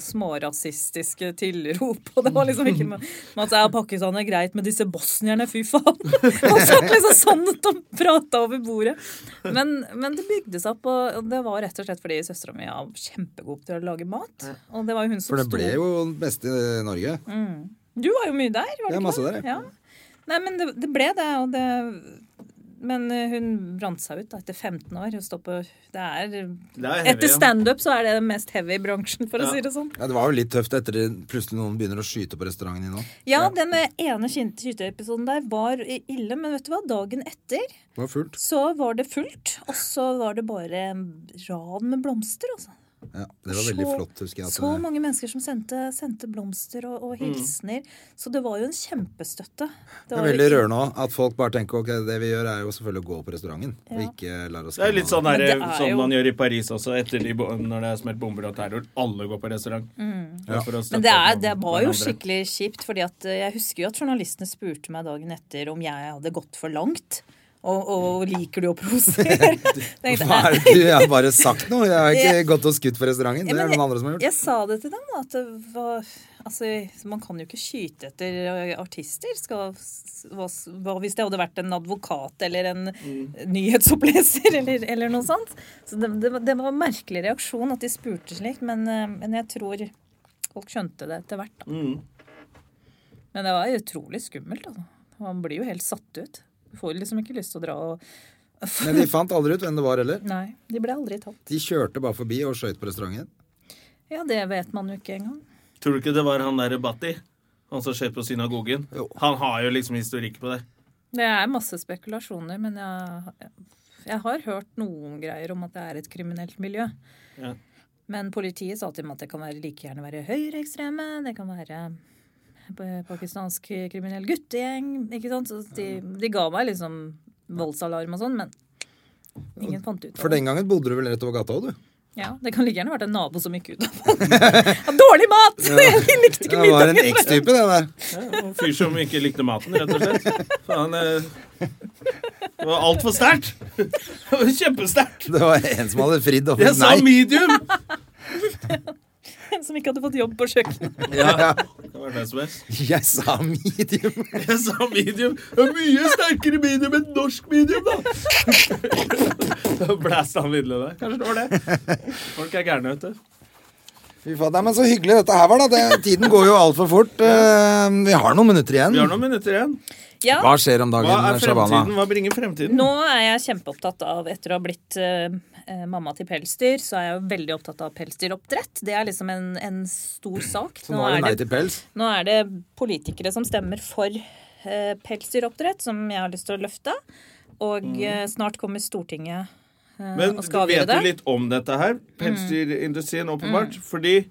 [SPEAKER 3] smårasistiske tilrop. Og det var liksom ikke med at jeg pakistan er greit med disse bosnierne, fy faen! Og så liksom sånn at de prata over bordet. Men, men det bygde seg opp, og og det var rett og slett fordi søstera mi er kjempegod til å lage mat. Og det var jo hun som
[SPEAKER 2] For det
[SPEAKER 3] sto
[SPEAKER 2] ble jo den beste i Norge.
[SPEAKER 3] Mm. Du var jo mye der, var
[SPEAKER 2] Ja,
[SPEAKER 3] det
[SPEAKER 2] masse
[SPEAKER 3] ikke
[SPEAKER 2] der,
[SPEAKER 3] det? Ja. Nei, men det, det ble det, og det Men eh, hun brant seg ut da, etter 15 år. Hun står på Det er
[SPEAKER 1] Det er heavy,
[SPEAKER 3] Etter
[SPEAKER 1] ja.
[SPEAKER 3] standup så er det den mest heavy bransjen, for å si det sånn.
[SPEAKER 2] Ja, det var jo litt tøft etter det plutselig noen begynner å skyte på restauranten din nå.
[SPEAKER 3] Ja, den eh, ene skyte- skyteepisoden der var i- ille, men vet du hva? Dagen etter
[SPEAKER 2] Det var fullt.
[SPEAKER 3] så var det fullt, og så var det bare rad med blomster, altså.
[SPEAKER 2] Ja, det var veldig
[SPEAKER 3] så-
[SPEAKER 2] flott, husker jeg. at
[SPEAKER 3] Så
[SPEAKER 2] det-
[SPEAKER 3] mange mennesker som sendte, sendte blomster og, og hilsener. Så det var jo en kjempestøtte.
[SPEAKER 2] Det er
[SPEAKER 3] var
[SPEAKER 2] veldig
[SPEAKER 3] ikke-
[SPEAKER 2] rørende også, at folk bare tenker ok, det vi gjør er jo selvfølgelig å gå på restauranten. Og ikke lar oss
[SPEAKER 1] Det er litt sånn,
[SPEAKER 3] Men
[SPEAKER 1] der,
[SPEAKER 3] det er
[SPEAKER 1] sånn
[SPEAKER 3] jo-
[SPEAKER 1] man gjør i Paris også, etter de, bo- når det er smelt bomber og terror. Alle går på restaurant. Ja, for å støtte
[SPEAKER 3] Mm. Men det, er,
[SPEAKER 1] opp om
[SPEAKER 3] det var jo
[SPEAKER 1] hverandre.
[SPEAKER 3] skikkelig kjipt, fordi at eh, jeg husker jo at journalistene spurte meg dagen etter om jeg hadde gått for langt. Og, og liker du å provosere? Tenkte
[SPEAKER 2] Hva er
[SPEAKER 3] jeg,
[SPEAKER 2] det du Jeg har bare sagt noe. Jeg har ikke gått og skutt på restauranten. Det
[SPEAKER 3] Ja,
[SPEAKER 2] er
[SPEAKER 3] men
[SPEAKER 2] noen andre som har gjort.
[SPEAKER 3] jeg sa det til dem, da. At det var, altså, man kan jo ikke skyte etter eh, artister. Skal, hva, hva hvis det hadde vært en advokat eller en nyhetsoppleser eller, eller noe sånt? Så det, det, var- det var en merkelig reaksjon at de spurte slikt, men, eh, men jeg tror folk skjønte det etter hvert, da. Men det var utrolig skummelt, altså. Man blir jo helt satt ut. Du får liksom ikke lyst til å dra og
[SPEAKER 2] Men de fant aldri ut hvem det var heller.
[SPEAKER 3] Nei, de ble aldri tatt.
[SPEAKER 2] De kjørte bare forbi og skøyt på restauranten.
[SPEAKER 3] Ja, det vet man jo ikke engang.
[SPEAKER 1] Tror du ikke det var han derre Bhatti? Han som skjer på synagogen?
[SPEAKER 2] Jo.
[SPEAKER 1] Han har jo liksom historikk på det.
[SPEAKER 3] Det er masse spekulasjoner, men jeg, jeg har hørt noen greier om at det er et kriminelt miljø.
[SPEAKER 1] Ja.
[SPEAKER 3] Men politiet sa til meg at det kan være, like gjerne være høyreekstreme, det kan være p- pakistansk kriminell guttegjeng, ikke sant. Så de, de ga meg liksom voldsalarm og sånn, men ingen fant ut av
[SPEAKER 2] For
[SPEAKER 3] det.
[SPEAKER 2] den gangen bodde du vel rett over gata òg, du?
[SPEAKER 3] Ja, Det kan like gjerne vært en nabo som gikk ut av den. Dårlig mat! Jeg likte ikke
[SPEAKER 2] Det var en
[SPEAKER 3] middagen.
[SPEAKER 2] ekstype, det der.
[SPEAKER 1] En fyr som ikke likte maten, rett og slett. Faen, eh, det var altfor sterkt! Det var Kjempesterkt!
[SPEAKER 2] Det var en som hadde fridd og
[SPEAKER 1] Jeg sa
[SPEAKER 2] Nei.
[SPEAKER 1] medium!
[SPEAKER 3] En som ikke hadde fått jobb på kjøkkenet.
[SPEAKER 1] Ja, det var det som helst.
[SPEAKER 2] Jeg sa medium.
[SPEAKER 1] Jeg sa medium. Det er mye sterkere medium enn norsk medium, da! Da Blæsta han videre der. Kanskje det var det. Folk er gærne, vet du.
[SPEAKER 2] Fy faen, nei, men Så hyggelig dette her var, da. Det, tiden går jo altfor fort. Eh, Vi har noen minutter
[SPEAKER 1] Vi har
[SPEAKER 2] igjen.
[SPEAKER 1] noen minutter igjen.
[SPEAKER 3] Ja,
[SPEAKER 2] Hva skjer om
[SPEAKER 1] Hva
[SPEAKER 2] dagen,
[SPEAKER 1] er
[SPEAKER 2] Shabana?
[SPEAKER 1] fremtiden? Hva bringer fremtiden?
[SPEAKER 3] Nå er jeg kjempeopptatt av, etter å ha blitt eh, eh, mamma til pelsdyr, så er jeg jo veldig opptatt av pelsdyroppdrett. Det er liksom en, en stor sak.
[SPEAKER 2] Så nå er det nei
[SPEAKER 3] det-
[SPEAKER 2] til pels.
[SPEAKER 3] nå er det politikere som stemmer for eh, pelsdyroppdrett, som jeg har lyst til å løfte. Og eh, snart kommer Stortinget eh,
[SPEAKER 1] Mm. Men
[SPEAKER 3] og skal
[SPEAKER 1] vet
[SPEAKER 3] avgjøre
[SPEAKER 1] du
[SPEAKER 3] det. Mm.
[SPEAKER 1] litt om dette her? Pelsdyrindustrien, åpenbart. Fordi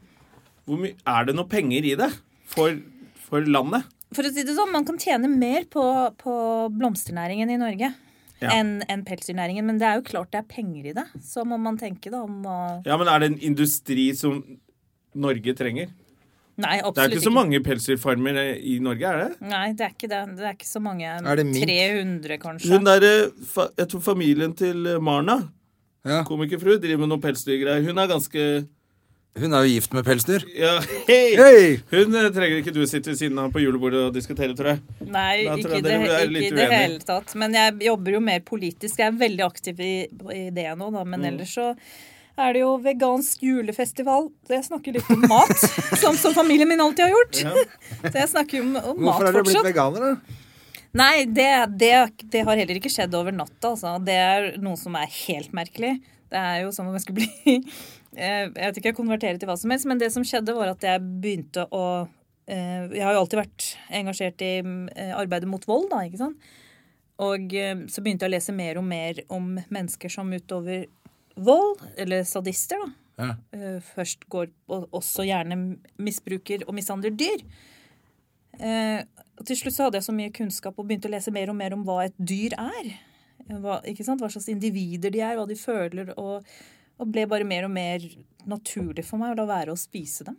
[SPEAKER 1] hvor my Er det noe penger i det? For, for landet?
[SPEAKER 3] For å si det sånn, man kan tjene mer på, på blomsternæringen i Norge.
[SPEAKER 1] Ja.
[SPEAKER 3] Enn enn pelsdyrnæringen. Men det er jo klart det er penger i det. Så må man tenke da om hva
[SPEAKER 1] Ja, men er det en industri som Norge trenger?
[SPEAKER 3] Nei, absolutt
[SPEAKER 1] Det er jo ikke så mange pelsdyrfarmer eh, i Norge, er det?
[SPEAKER 3] Nei, det er ikke det. Det er ikke så mange.
[SPEAKER 2] Er det mink?
[SPEAKER 3] 300, kanskje.
[SPEAKER 1] Hun derre fa- Jeg tror familien til eh, Marna,
[SPEAKER 2] Ja.
[SPEAKER 1] komikerfrue, driver med noe pelsdyrgreier. Hun er ganske
[SPEAKER 2] Hun er jo gift med pelsdyr.
[SPEAKER 1] Ja, hei!
[SPEAKER 2] Hei!
[SPEAKER 1] Hun eh, trenger ikke du sitte ved siden av på julebordet og diskutere, tror jeg.
[SPEAKER 3] Nei,
[SPEAKER 1] Da tror jeg
[SPEAKER 3] ikke i det,
[SPEAKER 1] dere er
[SPEAKER 3] ikke
[SPEAKER 1] litt
[SPEAKER 3] i det
[SPEAKER 1] uenige.
[SPEAKER 3] hele tatt. Men jeg jobber jo mer politisk. Jeg er veldig aktiv i, i det nå, da.
[SPEAKER 1] Mm.
[SPEAKER 3] Men ellers så er det jo vegansk julefestival. Så jeg snakker litt om mat, som, som familien min alltid har gjort. Så jeg snakker jo om, om mat
[SPEAKER 2] Hvorfor er dere blitt
[SPEAKER 3] fortsatt.
[SPEAKER 2] veganer, da?
[SPEAKER 3] Nei, det, det, det har heller ikke skjedd over natta. Altså. Det er noe som er helt merkelig. Det er jo som om jeg skulle bli eh, Jeg vet ikke, jeg konverterer til hva som helst, men det som skjedde, var at jeg begynte å eh, Jeg har jo alltid vært engasjert i mm, eh, arbeidet mot vold, da, ikke sant. Og eh, så begynte jeg å lese mer og mer om mennesker som utover vold, eller sadister, da, eh, først går og også gjerne misbruker og mishandler dyr. Eh, og til slutt så hadde jeg så mye kunnskap og begynte å lese mer og mer om hva et dyr er. Eh, Hva, ikke sant? hva slags individer de er, hva de føler, og, og ble bare mer og mer naturlig for meg å la være å spise dem.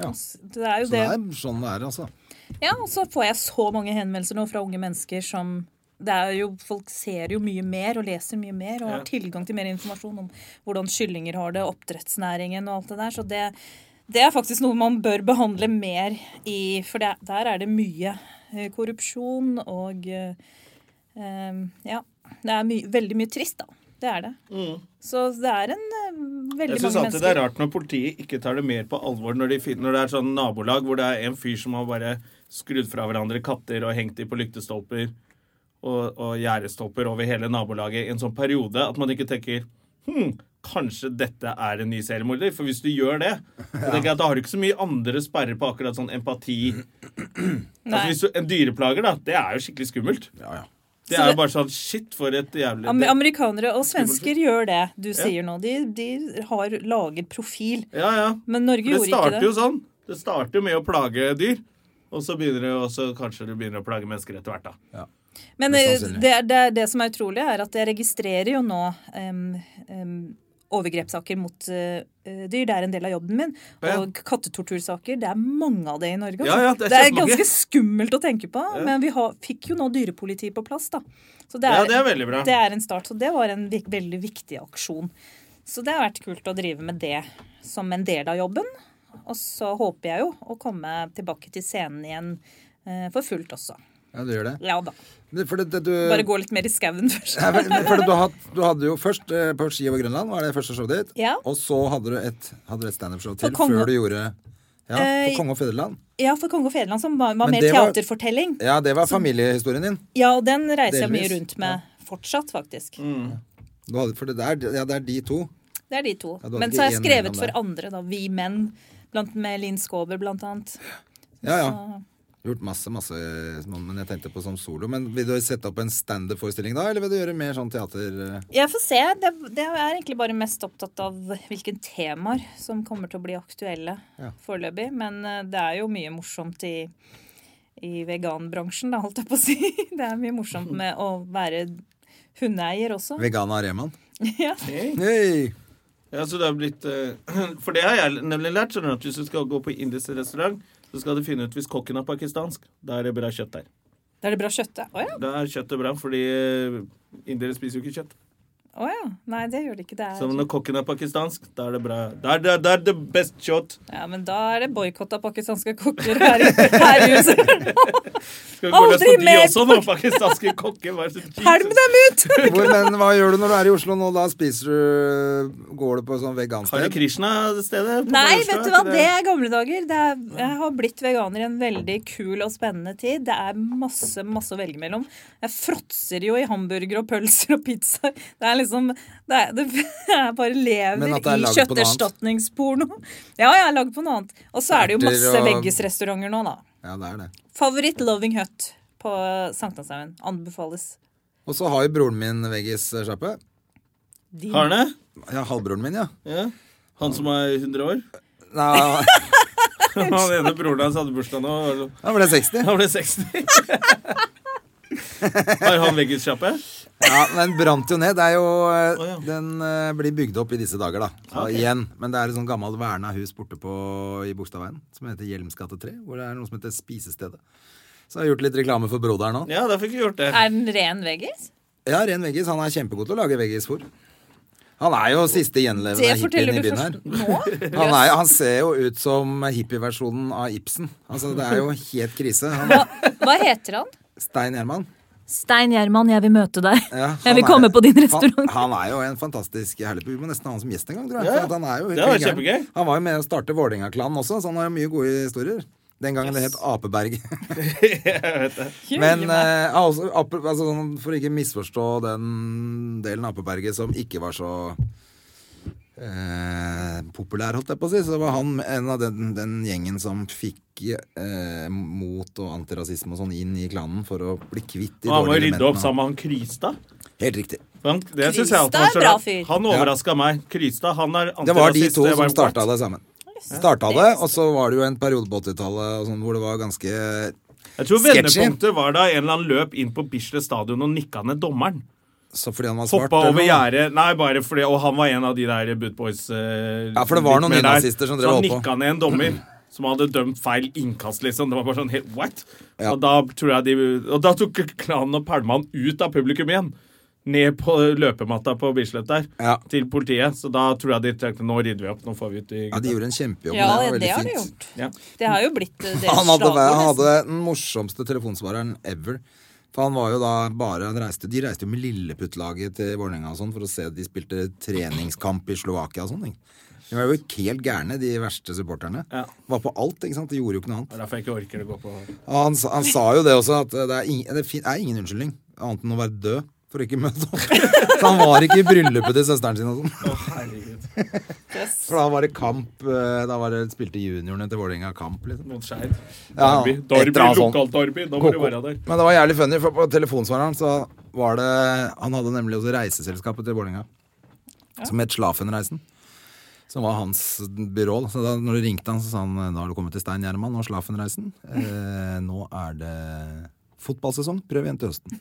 [SPEAKER 2] Ja.
[SPEAKER 3] Og s- Det er jo
[SPEAKER 2] Så det
[SPEAKER 3] det.
[SPEAKER 2] er sånn det er, altså.
[SPEAKER 3] Ja, og så får jeg så mange henvendelser nå fra unge mennesker som det er jo, Folk ser jo mye mer og leser mye mer og har tilgang til mer informasjon om hvordan kyllinger har det, oppdrettsnæringen og alt det der. Så det, det er faktisk noe man bør behandle mer i, for det, der er det mye eh, korrupsjon og eh, eh, Ja. Det er my, veldig mye trist, da. Det er det. Så det er en eh,
[SPEAKER 1] Mm.
[SPEAKER 3] veldig
[SPEAKER 1] Jeg
[SPEAKER 3] mange
[SPEAKER 1] syns
[SPEAKER 3] mennesker
[SPEAKER 1] alltid det er rart når politiet ikke tar det mer på alvor når, de finner, når det er sånn nabolag hvor det er en fyr som har bare skrudd fra hverandre katter og hengt de på lyktestolper og, og gjerdestolper over hele nabolaget i en sånn periode, at man ikke tenker Hm, kanskje dette er en ny seriemorder? For hvis du gjør det, så tenker jeg at da har du ikke så mye andre sperrer på akkurat sånn empati. Altså,
[SPEAKER 3] Nei.
[SPEAKER 1] hvis du, en dyreplager, da, det er jo skikkelig skummelt. Det
[SPEAKER 3] Så
[SPEAKER 1] er
[SPEAKER 3] det-
[SPEAKER 1] jo bare sånn Shit, for et jævlig
[SPEAKER 3] Am- Amerikanere og svensker gjør det du sier nå. De, de har laget profil.
[SPEAKER 1] Ja, ja.
[SPEAKER 3] Men Norge
[SPEAKER 1] Det
[SPEAKER 3] gjorde ikke
[SPEAKER 1] starter
[SPEAKER 3] det.
[SPEAKER 1] jo sånn. Det starter jo med å plage dyr. Og så begynner det, og så kanskje du begynner å plage mennesker etter hvert. da.
[SPEAKER 3] Men
[SPEAKER 2] Mest
[SPEAKER 3] eh,
[SPEAKER 2] sannsynlig.
[SPEAKER 3] det, er- det, er det som er utrolig, er at jeg registrerer jo nå em, em, overgrepssaker mot eh, eh, dyr. Det er en del av jobben min.
[SPEAKER 1] Ja.
[SPEAKER 3] Og kattetortursaker. Det er mange av det i Norge.
[SPEAKER 1] Ja,
[SPEAKER 3] altså.
[SPEAKER 1] ja, det er kjempemange.
[SPEAKER 3] ganske skummelt å tenke på. Men vi har, fikk jo nå dyrepoliti på plass, da. Så det
[SPEAKER 1] Ja, det er veldig bra.
[SPEAKER 3] det er en start. Så det var en vik- veldig viktig aksjon. Så det har vært kult å drive med det som en del av jobben. Og så håper jeg jo å komme tilbake til scenen igjen eh, for fullt også.
[SPEAKER 2] Ja, du gjør det.
[SPEAKER 3] Ja da.
[SPEAKER 2] Men For det, det, du...
[SPEAKER 3] Bare gå litt mer i skauen først.
[SPEAKER 2] Nei, men- men for du, had, du hadde jo først eh, på ski over Grønland, var det første showet ditt.
[SPEAKER 3] Ja.
[SPEAKER 2] Og så hadde du et, hadde du et standup-show
[SPEAKER 3] På
[SPEAKER 2] til
[SPEAKER 3] Kongo-
[SPEAKER 2] før du gjorde ja,
[SPEAKER 3] Eh,
[SPEAKER 2] På Konge og Fedreland.
[SPEAKER 3] Ja, for 'Konge og fedreland' som var, var
[SPEAKER 2] Men
[SPEAKER 3] mer
[SPEAKER 2] det var-
[SPEAKER 3] teaterfortelling.
[SPEAKER 2] Ja, det var familiehistorien din.
[SPEAKER 3] Ja, og den reiser jeg mye
[SPEAKER 2] Delvis, Mm.
[SPEAKER 3] rundt med fortsatt, faktisk.
[SPEAKER 2] Du hadde, for det, der, ja, det er de to.
[SPEAKER 3] Det er de to.
[SPEAKER 2] Ja, du hadde
[SPEAKER 3] Men
[SPEAKER 2] ikke
[SPEAKER 3] så har jeg
[SPEAKER 2] en mellom
[SPEAKER 3] skrevet for
[SPEAKER 2] der.
[SPEAKER 3] andre, da. Vi menn. Blant med Linn Skåber, blant annet.
[SPEAKER 2] Ja, ja. Gjort masse, masse sånn, Men jeg tenkte på som solo. Men vil du sette opp en standup-forestilling da, eller vil du gjøre mer sånn teater... eh?
[SPEAKER 3] Jeg får se. Det, det er egentlig bare mest opptatt av hvilke temaer som kommer til å bli aktuelle foreløpig. Men eh, det er jo mye morsomt i, i veganbransjen, da, holdt jeg på å si. Det er mye morsomt med å være hundeeier også.
[SPEAKER 2] Vegana Reman?
[SPEAKER 3] Ja.
[SPEAKER 2] Hei!
[SPEAKER 1] Ja, så det har blitt, eh, For det har jeg nemlig lært. skjønner du, at Hvis du skal gå på indisk restaurant, så skal du finne ut hvis kokken er pakistansk. Da er det bra kjøtt der.
[SPEAKER 3] Da er det bra kjøttet. Å ja.
[SPEAKER 1] Da er kjøttet bra, fordi eh, indere spiser jo ikke kjøtt.
[SPEAKER 3] Å ja. Nei, det gjør det ikke. Det
[SPEAKER 1] Så
[SPEAKER 3] er
[SPEAKER 1] når kokken er pakistansk, da er det bra. Da er det, da er det best kjøtt.
[SPEAKER 3] Ja, men da er det boikott av pakistanske kokker her i, her i huset.
[SPEAKER 1] Skal vi gå løs
[SPEAKER 3] Aldri
[SPEAKER 1] på de
[SPEAKER 3] mer
[SPEAKER 1] også, nå? Pakistanske kokker. Hva er det som-
[SPEAKER 3] Pælm dem ut!
[SPEAKER 2] Hvor, men hva gjør du når du er i Oslo nå? Da spiser du Går du på sånn
[SPEAKER 1] Hare
[SPEAKER 2] vegansted?
[SPEAKER 1] Krishna-stedet? på
[SPEAKER 3] Nei,
[SPEAKER 1] Majorstua, er
[SPEAKER 3] vet du hva,
[SPEAKER 1] ikke
[SPEAKER 3] det er gamle dager. Det er, jeg har blitt veganer i en veldig kul og spennende tid. Det er masse, masse å velge mellom. Jeg fråtser jo i hamburger og pølser og pizza. Det er liksom det er, det, Jeg bare
[SPEAKER 2] Men at
[SPEAKER 3] lever
[SPEAKER 2] det er
[SPEAKER 3] i
[SPEAKER 2] laget på noe annet.
[SPEAKER 3] kjøtterstatningsporno. Ja, jeg har lagd på noe annet. Og så er det jo
[SPEAKER 2] Erter
[SPEAKER 3] masse
[SPEAKER 2] og-
[SPEAKER 3] veggisrestauranter nå, da.
[SPEAKER 2] Ja, det er det.
[SPEAKER 3] Favoritt Loving Hut på Sankthanshaugen. Anbefales.
[SPEAKER 2] Og så har jo broren min veggis-sjappe.
[SPEAKER 3] De-
[SPEAKER 1] Har han det?
[SPEAKER 2] Ja, halvbroren min, ja.
[SPEAKER 1] Ja. Han som er 100 år?
[SPEAKER 2] Nei,
[SPEAKER 1] Han ene broren hans hadde bursdag nå. og
[SPEAKER 2] han ble 60.
[SPEAKER 1] Han ble 60. Har han veggissjappe?
[SPEAKER 2] Ja, den brant jo ned. Det er jo, eh,
[SPEAKER 1] Å, ja.
[SPEAKER 2] Den eh, blir bygd opp i disse dager, da. Så igjen. Men det er et sånt gammelt verna hus borte på, i Bogstadveien som heter Hjelms gate 3, hvor det er noe som heter Spisestedet. Så jeg har gjort litt reklame for broderen nå.
[SPEAKER 1] Ja, da fikk vi gjort det.
[SPEAKER 3] Er den ren veggis?
[SPEAKER 2] Ja, ren veggis. Han er kjempegod til å lage veggisfôr. Han er jo siste
[SPEAKER 3] Det
[SPEAKER 2] gjenlevende
[SPEAKER 3] forteller
[SPEAKER 2] hippien i
[SPEAKER 3] du
[SPEAKER 2] byen her.
[SPEAKER 3] først nå?
[SPEAKER 2] Han, er, jo- han ser jo ut som hippieversjonen av Ibsen. Altså, det er jo helt krise. Han,
[SPEAKER 3] Hva heter han?
[SPEAKER 2] Stein Gjerman.
[SPEAKER 3] Stein Gjerman, jeg vil møte deg.
[SPEAKER 2] Ja, han
[SPEAKER 3] jeg vil
[SPEAKER 2] er-
[SPEAKER 3] komme på din restaurant.
[SPEAKER 2] Han, han er jo en fantastisk herlig Vi må nesten ha han som gjest en gang, tror jeg.
[SPEAKER 1] Ja,
[SPEAKER 2] for at han, er jo
[SPEAKER 1] det hadde vært
[SPEAKER 2] helt gæren.
[SPEAKER 1] kjempegøy.
[SPEAKER 2] han var jo med å starte Vålerenga-klanen også, så han har jo mye gode historier. Den gangen det het Apeberg. Men eh, altså, Ape, altså, sånn, for ikke misforstå den delen av Apeberget som ikke var så eh, populær, holdt jeg på å si, så var han en av den, den gjengen som fikk eh, mot og antirasisme og sånn inn i klanen for å bli kvitt de
[SPEAKER 1] Og han må
[SPEAKER 2] dårlige
[SPEAKER 1] jo rydde opp
[SPEAKER 2] elementene.
[SPEAKER 1] sammen med han Krystad.
[SPEAKER 2] Helt riktig.
[SPEAKER 1] Han, det synes jeg alltid var
[SPEAKER 3] Krystad er
[SPEAKER 1] så
[SPEAKER 3] bra
[SPEAKER 1] rart.
[SPEAKER 3] fyr.
[SPEAKER 1] Han overraska meg. Krystad, han er antirasist.
[SPEAKER 2] Det var de to
[SPEAKER 1] Jeg bare,
[SPEAKER 2] som starta
[SPEAKER 1] what?
[SPEAKER 2] det sammen. Starta det, og så var det jo en periode på 80-tallet og sånn, hvor det var ganske
[SPEAKER 1] Jeg tror
[SPEAKER 2] Sketchy.
[SPEAKER 1] vendepunktet var da en eller annen løp inn på Bislett stadion og nikka ned dommeren.
[SPEAKER 2] Så fordi han var svart
[SPEAKER 1] Hoppa
[SPEAKER 2] eller
[SPEAKER 1] over
[SPEAKER 2] noe.
[SPEAKER 1] gjerdet. Nei, bare fordi Og han var en av de der Boot Boys eh,
[SPEAKER 2] Ja, for det var
[SPEAKER 1] litt
[SPEAKER 2] noen
[SPEAKER 1] mer der.
[SPEAKER 2] nynazister som drev
[SPEAKER 1] Så
[SPEAKER 2] og holdt på.
[SPEAKER 1] Han nikka ned en dommer som hadde dømt feil innkast, liksom. Det var bare sånn helt what?
[SPEAKER 2] Ja.
[SPEAKER 1] Og, da tror jeg de, og da tok klanen og pælma han ut av publikum igjen. Ned på løpematta på Bislett der,
[SPEAKER 2] Ja.
[SPEAKER 1] til politiet. Så da tror jeg de tenkte nå rydder vi opp, nå får vi ut de
[SPEAKER 2] Ja, de gjorde en kjempejobb.
[SPEAKER 3] Ja,
[SPEAKER 2] det var
[SPEAKER 3] det,
[SPEAKER 2] veldig
[SPEAKER 3] har de
[SPEAKER 2] fint.
[SPEAKER 3] gjort.
[SPEAKER 1] Ja.
[SPEAKER 3] Det har jo blitt eh, deres
[SPEAKER 2] Han hadde,
[SPEAKER 3] slagord,
[SPEAKER 2] han
[SPEAKER 3] nesten.
[SPEAKER 2] hadde den morsomste telefonsvareren ever. For han var jo da bare han reiste, De reiste jo med Lilleputt-laget til Vålerenga og sånn for å se de spilte treningskamp i Slovakia og sånn. ikke? De var jo helt gærne, de verste supporterne.
[SPEAKER 1] Ja.
[SPEAKER 2] Var på alt, ikke sant. De gjorde jo ikke noe annet.
[SPEAKER 1] Det er derfor jeg ikke orker å gå på
[SPEAKER 2] Ja, Han, sa- han sa jo det også, at det er, ingen, det fin- er ingen unnskyldning annet enn å være død for å ikke møte opp. Så han var ikke i bryllupet til søsteren sin og sånn.
[SPEAKER 1] Herregud.
[SPEAKER 2] For da var det kamp. eh, Da var det, spilte juniorene til Vålerenga kamp, liksom.
[SPEAKER 1] Mot Skeid.
[SPEAKER 2] Ja,
[SPEAKER 1] Derby.
[SPEAKER 2] et
[SPEAKER 1] Derby,
[SPEAKER 2] eller annet sånt.
[SPEAKER 1] lokalt derby. Da må du være der.
[SPEAKER 2] Men det var jævlig funny, for på telefonsvareren så var det Han hadde nemlig også reiseselskapet til Vålerenga, som het Slafenreisen. Som var hans byrå. da. Så da når du ringte han, så sa han da har du kommet til Stein Gjerman og Slafenreisen. Eh, nå er det fotballsesong. Prøv igjen til høsten.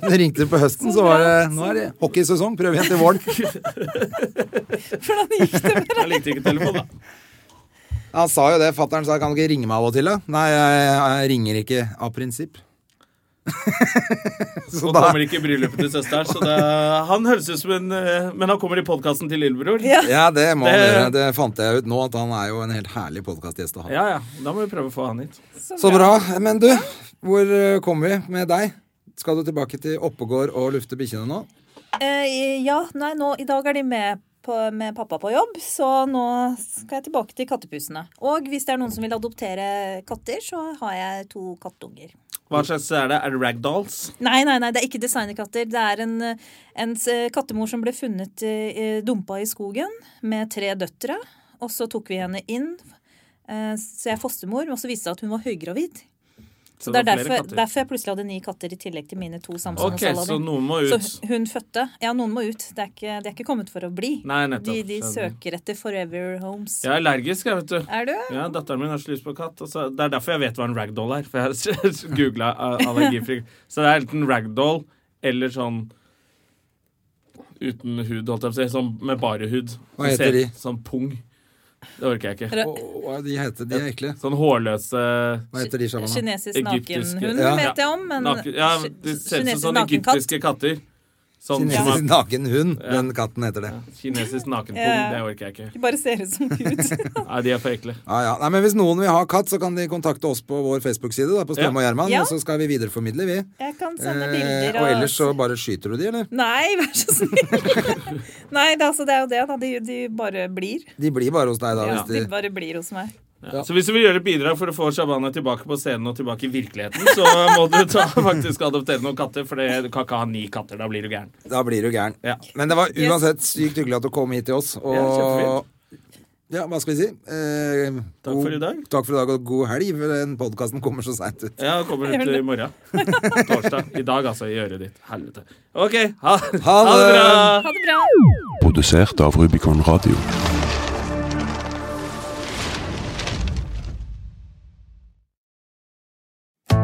[SPEAKER 2] Når du ringte på høsten, så var det nå er det hockeysesong. Prøv igjen til våren.
[SPEAKER 3] Hvordan gikk det med
[SPEAKER 1] Jeg likte ikke telefonen, da.
[SPEAKER 2] Han sa jo det. Fattern sa kan du ikke ringe meg av og til, da? Nei, jeg, jeg ringer ikke av prinsipp. så
[SPEAKER 1] Og kommer ikke i bryllupet til søsteren. Så det, han høres ut som en eh, Men han kommer i podkasten til lillebror.
[SPEAKER 3] Ja.
[SPEAKER 2] Ja, det må
[SPEAKER 1] Det-
[SPEAKER 2] han gjøre. Det fant jeg ut nå, at han er jo en helt herlig podkastgjest å ha.
[SPEAKER 1] ja ja. Da må vi prøve å få han hit.
[SPEAKER 2] Så bra. Men du, hvor eh, kommer vi med deg? Skal du tilbake til Oppegård og lufte bikkjene nå?
[SPEAKER 3] Eh, ja, nei, nå, i dag er de med, på, med pappa på jobb, så nå skal jeg tilbake til kattepusene. Og hvis det er noen som vil adoptere katter, så har jeg to kattunger.
[SPEAKER 1] Hva slags er det? Er det ragdolls?
[SPEAKER 3] Nei, nei, nei, det er ikke designerkatter. Det er en, eh, en s- kattemor som ble funnet eh, dumpa i skogen med tre døtre. Og så tok vi henne inn, eh, så jeg er fostermor, og så viste det seg at hun var høygravid. Så det er
[SPEAKER 1] var flere
[SPEAKER 3] derfor,
[SPEAKER 1] katter.
[SPEAKER 3] derfor jeg plutselig hadde ni katter i tillegg til mine to Samson
[SPEAKER 1] Ok,
[SPEAKER 3] og
[SPEAKER 1] så
[SPEAKER 3] Saladin.
[SPEAKER 1] noen må
[SPEAKER 3] Så
[SPEAKER 1] ut.
[SPEAKER 3] hun- hun fødte. Ja, noen må ut. Det er ikke, det er ikke kommet for å bli.
[SPEAKER 1] Nei, nettopp.
[SPEAKER 3] de, de
[SPEAKER 1] Skjønner.
[SPEAKER 3] søker etter forever homes.
[SPEAKER 1] Jeg er allergisk, jeg, vet du.
[SPEAKER 3] Er du?
[SPEAKER 1] Ja, Datteren min har så lyst på katt. Og så, det er derfor jeg vet hva en ragdoll er. For jeg har googla allergifri. Så det er enten ragdoll eller sånn uten hud, holdt jeg på å si. Sånn med bare hud.
[SPEAKER 2] Hva heter de?
[SPEAKER 1] Sånn pung. Det orker jeg ikke.
[SPEAKER 3] Rø-
[SPEAKER 2] Å, å, de, heter, de er ekle.
[SPEAKER 1] Sånn hårløse
[SPEAKER 3] Sånn,
[SPEAKER 2] Hva heter de sjamana?
[SPEAKER 3] Kinesisk
[SPEAKER 1] Egyptiske-
[SPEAKER 3] nakenhund
[SPEAKER 2] Ja.
[SPEAKER 3] vet jeg om, men
[SPEAKER 1] naken, Ja,
[SPEAKER 3] ki-
[SPEAKER 1] det ser ut
[SPEAKER 3] eh, kinesisk
[SPEAKER 1] som sånne
[SPEAKER 3] nakenkatt.
[SPEAKER 1] egyptiske katter. Sånn som
[SPEAKER 2] Kinesisk
[SPEAKER 1] er
[SPEAKER 2] naken hund. Den katten heter det.
[SPEAKER 1] kinesisk nakenpung.
[SPEAKER 3] Ja.
[SPEAKER 1] Det orker jeg ikke.
[SPEAKER 3] De bare ser ut som Gud.
[SPEAKER 1] Nei, de er for ekle.
[SPEAKER 2] Ja, ja. Nei, men Hvis noen vil ha katt, så kan de kontakte oss på vår Facebook-side. da, på Strøm og Gjerman,
[SPEAKER 3] Ja.
[SPEAKER 2] og Så skal vi videreformidle, vi.
[SPEAKER 3] Jeg kan sende
[SPEAKER 2] Eh,
[SPEAKER 3] bilder
[SPEAKER 2] og ellers så bare skyter du de, eller?
[SPEAKER 3] Nei, vær så snill! Nei, det, er altså, det er jo det. Da. De, de bare blir.
[SPEAKER 2] De blir bare hos deg da.
[SPEAKER 3] Ja,
[SPEAKER 2] hvis
[SPEAKER 3] de
[SPEAKER 2] de...
[SPEAKER 3] bare blir hos meg.
[SPEAKER 1] Ja. Så hvis du vil gjøre et bidrag for å få Shabana tilbake på scenen og tilbake i virkeligheten, så må du ta, faktisk adoptere noen katter, for det, du kan ikke ha ni katter. Da blir du gæren.
[SPEAKER 2] Da blir du gæren.
[SPEAKER 1] Ja.
[SPEAKER 2] Men det var uansett sykt hyggelig at du kom hit til oss. Og
[SPEAKER 1] Ja, kjempefint.
[SPEAKER 2] Ja, hva skal vi si? Eh,
[SPEAKER 1] Takk for i dag.
[SPEAKER 2] Takk for i dag, og god helg, for den podkasten kommer så seint ut.
[SPEAKER 1] Ja, kommer ut i morgen. Torsdag. I dag, altså. I øret ditt. Helvete. OK. Ha,
[SPEAKER 2] Ha det.
[SPEAKER 1] bra.
[SPEAKER 3] Ha det bra!
[SPEAKER 4] Produsert av Rubicon Radio.